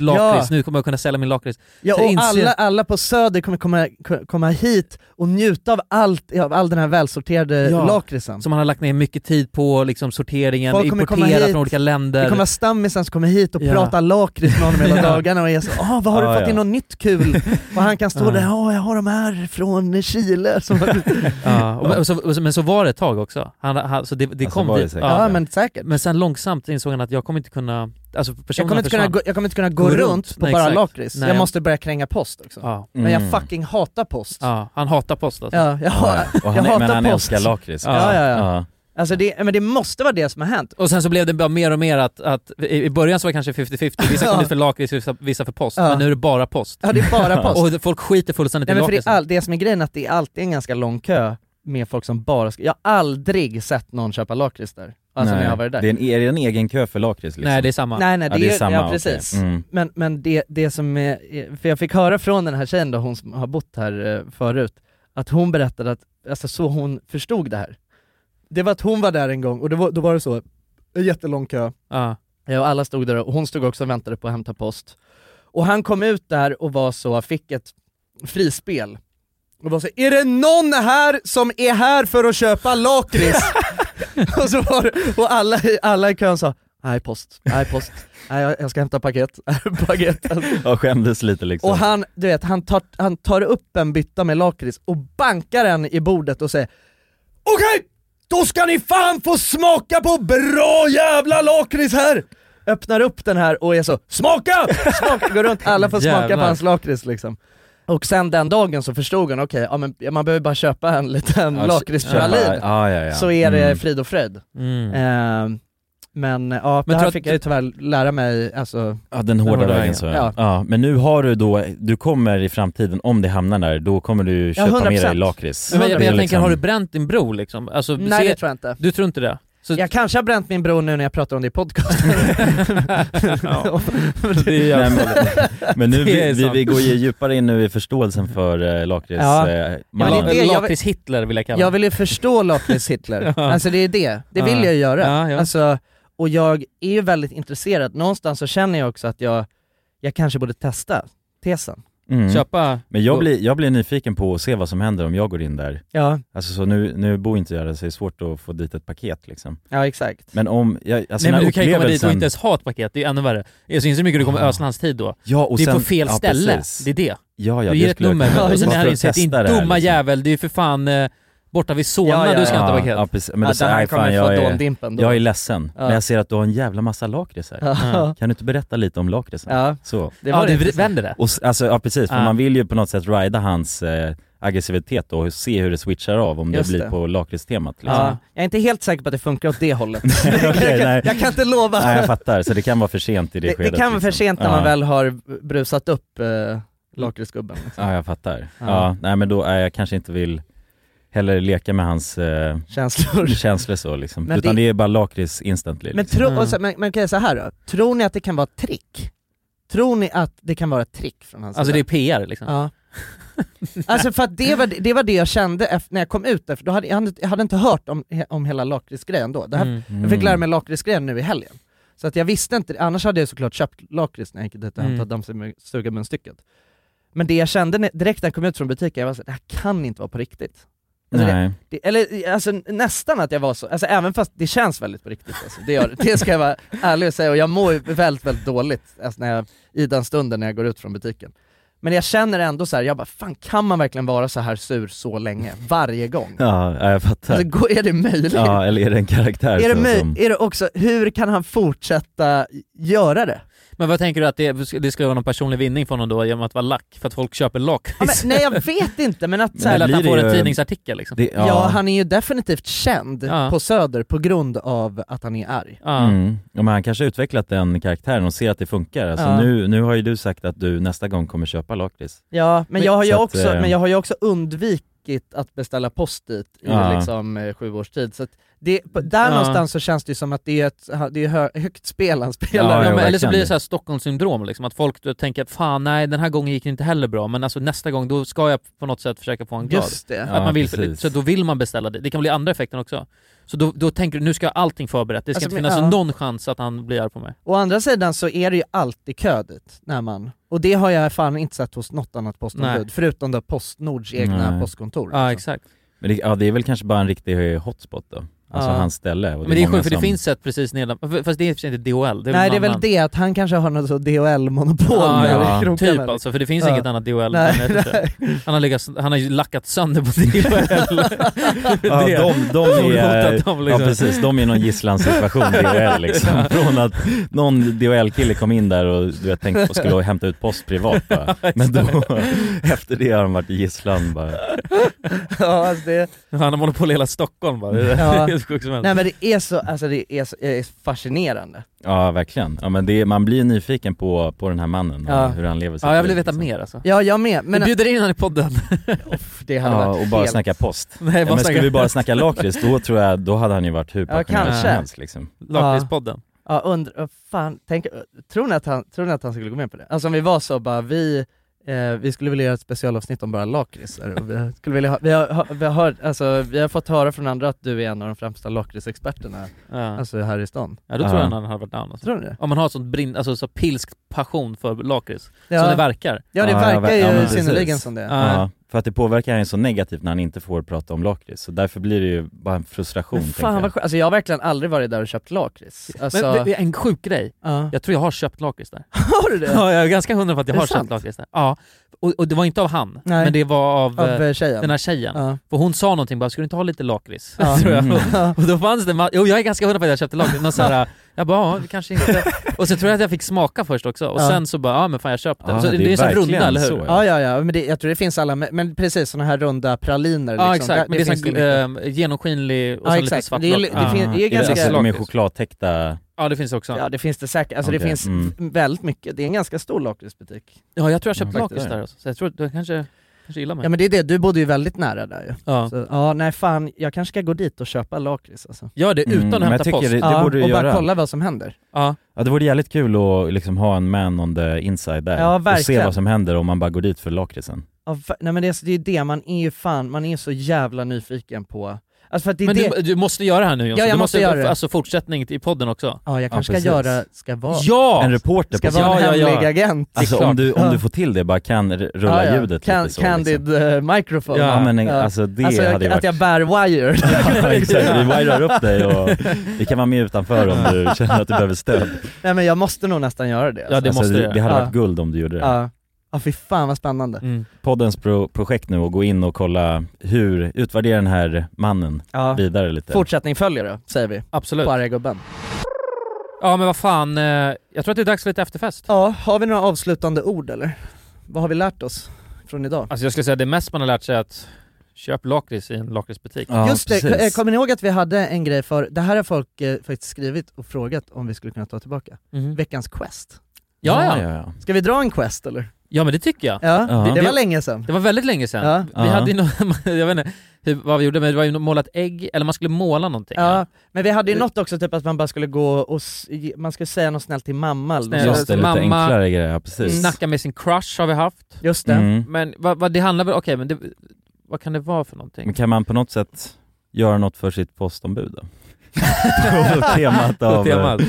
lakrits,
Ja.
nu kommer jag kunna sälja min lakrits.
Ja,
Så
och
inser-
alla, alla på Söder kommer komma, komma hit och njuta av, allt, av all den här välsorterade
Ja.
lakritsen.
Som han har lagt ner mycket tid på, liksom sorteringen,
Folk kommer komma
importerat
hit.
från olika
Det
länder.
kommer vara stammisar som kommer hit och
Ja.
pratar lakrits med honom hela
Ja.
dagarna och är så ah, vad har
Ja,
du fått
ja.
in något nytt kul? Och han kan stå
Ja.
där, ja jag har de här från Chile som har
Ja, och, och så, och så, men så var det ett tag också. Han, han, så det, det
Alltså,
kom
var det
dit.
säkert. Ja, men säkert.
Men sen långsamt insåg han att jag kommer inte kunna, alltså
jag kommer,
personerna
inte kunna
försvann.
gå, jag kommer inte kunna gå, runt, på
Nej,
bara
exakt.
lakrits,
Nej,
jag måste börja kränga post också.
Ja.
Men jag
Mm.
fucking hatar post.
Ja, han hatar post alltså.
Ja, jag,
Ja, ja.
Och
jag
han,
hatar
men han
post.
älskar lakrits.
Ja, ja, ja.
Ja.
Alltså det, men det måste vara det som har hänt.
Och sen så blev det bara mer och mer att, att i i början så var det kanske 50-50, vissa kom
Ja.
dit för lakrits, vissa, vissa för post.
Ja.
Men nu är det bara post.
Ja, det är bara post.
och folk skiter fullständigt i
Nej, men för det,
lakritsen.
är all, det som är grejen är att det är alltid en ganska lång kö med folk som bara ska, jag har aldrig sett någon köpa lakrits där. Alltså när
Nej.
jag har varit där.
Det är, en, är det en egen kö för lakrits liksom?
Nej, det är samma.
Nej nej, det,
ja,
är,
samma,
ja
okej.
precis.
Mm.
Men, men det, det som är, för jag fick höra från den här tjejen då, hon som har bott här eh, förut, att hon berättade att, alltså så hon förstod det här. Det var att hon var där en gång och det var, då var det så, en jättelång kö,
Ja.
Eh, och alla stod där och hon stod också och väntade på att hämta post. Och han kom ut där och var så, fick ett frispel. Och var så, är det någon här som är här för att köpa lakrits? och, så var, det- och alla, alla i kön sa, nej post, nej post, nej jag, jag ska hämta paket, paket.
Jag skämdes lite liksom.
Och han, du vet, han tar, han tar upp en bytta med lakrits och bankar den i bordet och säger Okej! Då ska ni fan få smaka på bra jävla lakrits här! Öppnar upp den här och är så SMAKA! Smaka! Går runt, alla får smaka på
Jävlar.
hans lakrits liksom. Och sen den dagen så förstod han, okej, ja, men man behöver bara köpa en liten
Ja,
lakritspralin
köpa- ja, ja, ja.
så är det
Mm.
frid och fröjd.
Mm.
Eh, men ja,
Men
det här
tror
fick
att-
jag ju tyvärr lära mig, alltså...
Ja den hårda vägen så ja. ja. Men nu har du då, du kommer i framtiden, om det hamnar där, då kommer du köpa med dig
100%.
lakrits.
Men, jag- men
Det är
jag tänker,
liksom-
har du bränt din bro liksom? Alltså,
Nej
se-
det tror jag inte.
Du tror inte det?
Jag kanske har bränt min bror nu när jag pratar om det i podcasten.
Ja. Det är
Nej,
jävligt.
men, men nu,
Det är
vi, vi,
sant.
vi går ju djupare in nu i förståelsen för eh, lakrits...
Ja.
eh,
Ja,
mannen.
det är det jag vill-
Lakrits-Hitler vill jag kalla
jag vill ju förstå Lakrits Hitler,
Ja.
alltså det är det. Det vill
Ja.
jag ju göra.
Ja, ja.
Alltså, och jag är ju väldigt intresserad, någonstans så känner jag också att jag, jag kanske borde testa tesen.
Mm.
Köpa...
Men jag blir, jag blir nyfiken på att se vad som händer om jag går in där.
Ja.
Alltså så nu, nu bor inte jag där så det är svårt att få dit ett paket liksom.
Ja exakt.
Men om, jag, alltså
Nej men
när
du kan ju komma dit och
upplevelsen-
inte ens ha ett paket, det är ännu värre. Jag syns hur mycket du kommer ödsla hans tid då.
Ja, och
det är på
sen-
fel
ja,
ställe,
precis.
det är det.
Ja, ja,
du
det
ger ett
skulle jag
nummer,
kunna-
men och sen
bara
är
för
han
att
insett, din
testa det här,
dumma
liksom.
jävel, det är ju för fan eh, borta vid Solna
Ja, ja,
du ska
ja,
inte ha paket.
Ja, precis. Men då säger jag, fan, jag, är, jag är ledsen,
Ja.
men jag ser att du har en jävla massa lakrits här.
Ja.
Kan du inte berätta lite om lakritsen?
Ja.
Så.
Det var Ja, det du intressant. vänder det.
Och, s- alltså, ja precis, för
Ja.
man vill ju på något sätt rida hans eh, aggressivitet då och se hur det switchar av om
Just
det blir
det.
på lakritstemat. Liksom.
Ja. Jag är inte helt säker på att det funkar åt det hållet.
Okej,
jag,
nej.
kan, jag kan inte lova.
Nej jag fattar, så det kan vara för sent i det,
det, det
skedet.
kan vara för
liksom.
sent när man
Ja.
väl har brusat upp eh, lakritsgubben. liksom.
Ja jag fattar.
Ja.
Ja, nej men då, nej, jag kanske inte vill heller leka med hans eh,
Känslor.
känslor så liksom.
Men
Utan
det-
det, är bara lakrits instantly.
Men,
liksom.
tro, och så, men, men kan jag säga så här då, tror ni att det kan vara ett trick? Tror ni att det kan vara ett trick från hans
Alltså det
sida?
är PR liksom.
Ja. Alltså för att det var det, var det jag kände efter, när jag kom ut där, för då hade, jag, hade, jag hade inte hört om, om hela lakritsgrejen då. Det här,
Mm.
Jag fick lära mig lakritsgrejen nu i helgen. Så att jag visste inte, annars hade jag såklart köpt lakrits när jag gick dit och
Mm.
hämtade dammsugarmunstycket. Men det jag kände när, direkt när jag kom ut från butiken, jag var så här, det här kan inte vara på riktigt. Alltså
Mm. Nej.
Det, det, eller alltså, nästan att jag var så, alltså, även fast det känns väldigt på riktigt. Alltså, det, gör, det. det ska jag vara ärlig och säga, och jag mår ju väldigt, väldigt dåligt alltså, när jag, i den stunden när jag går ut från butiken. Men jag känner ändå så här, jag bara, fan kan man verkligen vara så här sur så länge, varje gång?
Ja, ja, jag fattar.
Alltså, gå- är det möjligt?
Ja, eller är det en karaktär
Är det,
så,
möj-
som...
är det också, hur kan han fortsätta göra det?
Men vad tänker du att det, det skulle vara någon personlig vinning för honom då genom att vara lack? För att folk köper lakrits?
Ja, men, nej jag vet inte men att, så här,
Eller att han
blir
får
det
en
ju-
tidningsartikel liksom?
Det-
ja. han är ju definitivt känd
Ja.
på söder på grund av att han är arg.
Mm. Ja, men han kanske har utvecklat den karaktären och ser att det funkar. Alltså,
Ja.
nu, nu har ju du sagt att du nästa gång kommer köpa lakrits.
Ja, men jag, har ju
Så att,
också,
eh,
men jag har ju också undvikit att beställa post dit i
Ja.
liksom eh, sju års tid, så att det, på- där
Ja.
någonstans så känns det ju som att det är ett ha- det är hö, högt spel han spelar.
Ja, men, eller så blir det så här Stockholmssyndrom liksom, att folk då tänker fan nej den här gången gick det inte heller bra men alltså nästa gång då ska jag på något sätt försöka få en glad.
Just det.
Att
Ja,
man vill,
precis.
så då vill man beställa det, det kan bli andra effekten också. Så då, då tänker du nu ska jag ha allting förberett, det ska
Alltså,
inte
men-
finnas
ja.
någon chans att han blir arg på mig.
Å andra sidan så är det ju alltid kö dit, när man, och det har jag fan inte sett hos något annat
Nej.
postombud, förutom då Postnords egna
Nej.
postkontor.
Ja
liksom.
exakt.
Men det, ja, det är väl kanske bara en riktig hotspot då? Alltså
Ja.
hans ställe. och
Men det är
många
sjukt för det
som-
finns ett precis nedan, fast det är i och för sig inte DHL, det är
Nej
någon
det är väl
annan.
det, att han kanske har något så DHL-monopol
Ja,
där
ja,
i krokarna,
typ
liksom.
alltså, för det finns
Ja.
inget annat DHL
Nej,
än ett,
nej.
han, har legat, han har ju lackat sönder på DHL.
Ja,
Det-
de, de är,
hotat dem, liksom.
ja, precis, de är någon gisslansituation DHL liksom. Från att någon DHL-kille kom in där och du vet, tänkte på skulle hämta ut post privat bara. Men då, efter det har de varit i gisslan bara.
ja, alltså det...
Han har monopol i hela Stockholm bara. Det är
Ja.
hur sjukt som helst.
Nej men det är så, alltså det är, så, det är fascinerande.
Ja verkligen. Ja, men det, man blir nyfiken på, på den här mannen
Ja.
och hur han lever sitt
Ja, jag vill
liv,
veta
liksom.
mer alltså.
Ja jag med, men...
Vi bjuder in honom i podden.
det hade
Ja,
varit
och bara
helt...
snacka post.
Nej, bara
ja, men
snacka-
skulle vi bara snacka lakrits, då tror jag, då hade han ju varit hur
Ja
passionerad som
kanske.
helst liksom.
Lakritspodden.
Ja undrar, fan, tänk, tror ni, att han, tror ni att han skulle gå med på det? Alltså om vi var så bara, vi, eh, vi skulle vilja göra ett specialavsnitt om bara lakritsar och vi skulle vilja ha, vi har, ha- vi har, hört, alltså, vi har fått höra från andra att du är en av de främsta lakritsexperterna,
Ja.
alltså här i stan.
Ja då tror jag han hade varit down alltså.
Tror du det?
Om man har sånt brinn, alltså så pilsk passion för lakrits,
Ja.
som det verkar. Eh,
Ja, det verkar
ver-
ju
men
synnerligen
precis.
som det.
Ja.
Ja.
för att det påverkar han ju så negativt när han inte får prata om lakrits, så därför blir det ju bara en frustration tänker
Fan
jag.
vad skönt, alltså jag har verkligen aldrig varit där och köpt lakrits. Alltså,
Men det är en sjuk grej,
Ja.
jag tror jag har köpt lakrits där.
Har du det?
Ja, jag är ganska hundra på att jag
Är det
har
sant?
köpt lakrits där. Ja. Och, och det var inte av han,
Nej.
men det var av,
Av,
eh,
eh, tjejen.
den här tjejen.
Ja.
För hon sa någonting bara, ska du inte ha lite lakrits?
Ja.
Tror jag.
Mm. Ja.
Och då fanns det, ma- jo jag är ganska hundra på att jag köpte lakrits, någon så här, jag bara, ja, kanske inte. Och så tror jag att jag fick smaka först också, och
Ja.
sen så bara, ja men fan jag köpte.
Ja,
så det,
det
det
är
är en sån
verkligen
runda, eller hur?
så,
Ja ja ja, men det, jag tror det finns alla, men- men precis sådana här runda praliner
Ja
liksom.
exakt, men det,
finns ju mycket.
är sån äh, genomskinlig och
Ja,
så lite
exakt.
svart
Det är-
lakrits.
det fin- det är
Är
ganska-
det alltså de är chokladtäckta?
Ja det finns det också.
Ja det finns det säkert, alltså det
Okej,
finns
mm.
v- väldigt mycket, det är en ganska stor lakritsbutik.
Ja jag tror jag köpte
Ja,
lakrits
faktiskt.
där alltså. så jag tror att du kanske, kanske gillar mig.
Ja men det är det, du bodde ju väldigt nära där ju.
Ja.
Så, ja nej fan, jag kanske ska gå dit och köpa lakrits alltså.
Gör det utan
Mm, men jag
att hämta
tycker
post.
det- det
ja,
borde du
och bara
göra.
kolla vad som händer.
Ja.
Ja det vore jävligt kul att liksom ha en man on the inside där
Ja,
och se
verkligen.
vad som händer om man bara går dit för lakritsen.
Ja, fa- nej men det, är så- det är ju det, man är ju fan, man är ju så jävla nyfiken på... Alltså för att det är
Men
det...
du, du måste göra det här nu Jonsson.
Ja, jag
du
måste göra det.
Alltså fortsättning i podden också.
Ja jag
Ja,
kanske ska
precis.
göra, ska vara...
Ja!
En reporter
Ska
på
vara en
Ja, ja, ja.
hemlig agent.
Alltså
klart.
om du, om
Ja.
du får till det, bara kan r- rulla
Ja, ja.
ljudet
Can,
lite så
Candid
liksom.
eh, microphone.
Ja, men en- alltså det
alltså, jag,
hade ju
Att jag bär wire.
Ja, exakt, vi wirar upp dig och vi kan vara med utanför om du känner att du behöver stöd. Alltså,
Nej men jag måste nog nästan göra det.
Ja, det måste
det,
du.
det hade
Ja.
varit guld om du gjorde det.
Ja. Ja fy fan vad spännande.
Mm.
Poddens pro projekt nu och gå in och kolla hur, utvärdera den här mannen
Ja.
vidare lite.
Fortsättning följer då, säger vi.
Absolut.
På Arga-gubben.
Ja men vad fan, eh, jag tror att det är dags för lite efterfest.
Ja, har vi några avslutande ord eller? Vad har vi lärt oss från idag?
Alltså jag skulle säga att det mest man har lärt sig är att köp lakrits i en lakritsbutik.
Just det, eh, kommer ni ihåg att vi hade en grej för, det här har folk eh, faktiskt skrivit och frågat om vi skulle kunna ta tillbaka.
Mhm.
Veckans quest.
Ja, ja.
ja.
Ska vi dra en quest eller?
ja men det tycker jag.
Ja,
Ja.
Det, det var länge sedan.
Det var väldigt länge sedan.
Ja.
Vi
Ja.
hade ju någon, jag vet inte hur, vad vi gjorde, men det var ju målat ägg, eller man skulle måla någonting.
Ja, men vi hade ju något också typ att man bara skulle gå och, s- ge- man skulle säga något snällt till mamma eller något
Snällt.
sånt.
Just det, lite
Mamma-
enklare grejer, ja, precis.
Snacka med sin crush har vi haft.
Just det.
Mm.
Men vad, vad det handlar väl, okej men det, vad kan det vara för någonting?
Men kan man på något sätt göra något för sitt postombud då? På temat av... eh,
På temat.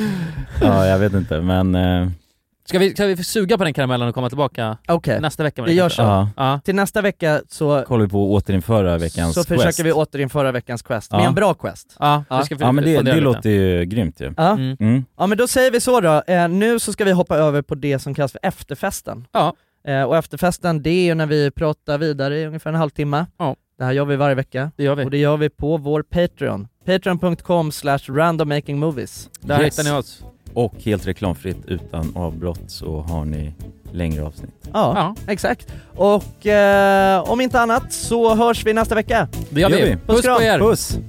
Ja, jag vet inte men... eh,
Ska vi, ska vi suga på den karamellen och komma tillbaka
Okej,
nästa vecka? med
vi
det
gör
kanske?
så.
Ja.
Ja.
Till nästa vecka så,
kollar vi på att återinföra veckans
så försöker
quest.
vi återinföra veckans quest, med
Ja.
en bra quest.
Ja,
Ja.
Vi ska
Ja men det,
fundera
det
lite.
låter ju grymt ju.
Ja.
Mm.
Mm.
Ja men då säger vi så då, eh, nu så ska vi hoppa över på det som kallas för efterfesten.
Ja.
Eh, och efterfesten det är ju när vi pratar vidare i ungefär en halvtimme.
Ja.
Det här gör vi varje vecka.
Det gör vi.
Och det gör vi på vår Patreon. Patreon.com slash randommakingmovies.
Där
Yes.
hittar ni oss.
Och helt reklamfritt utan avbrott så har ni längre avsnitt.
Ja, exakt. Och eh, om inte annat så hörs vi nästa vecka.
Det gör vi. Puss på er.
Puss.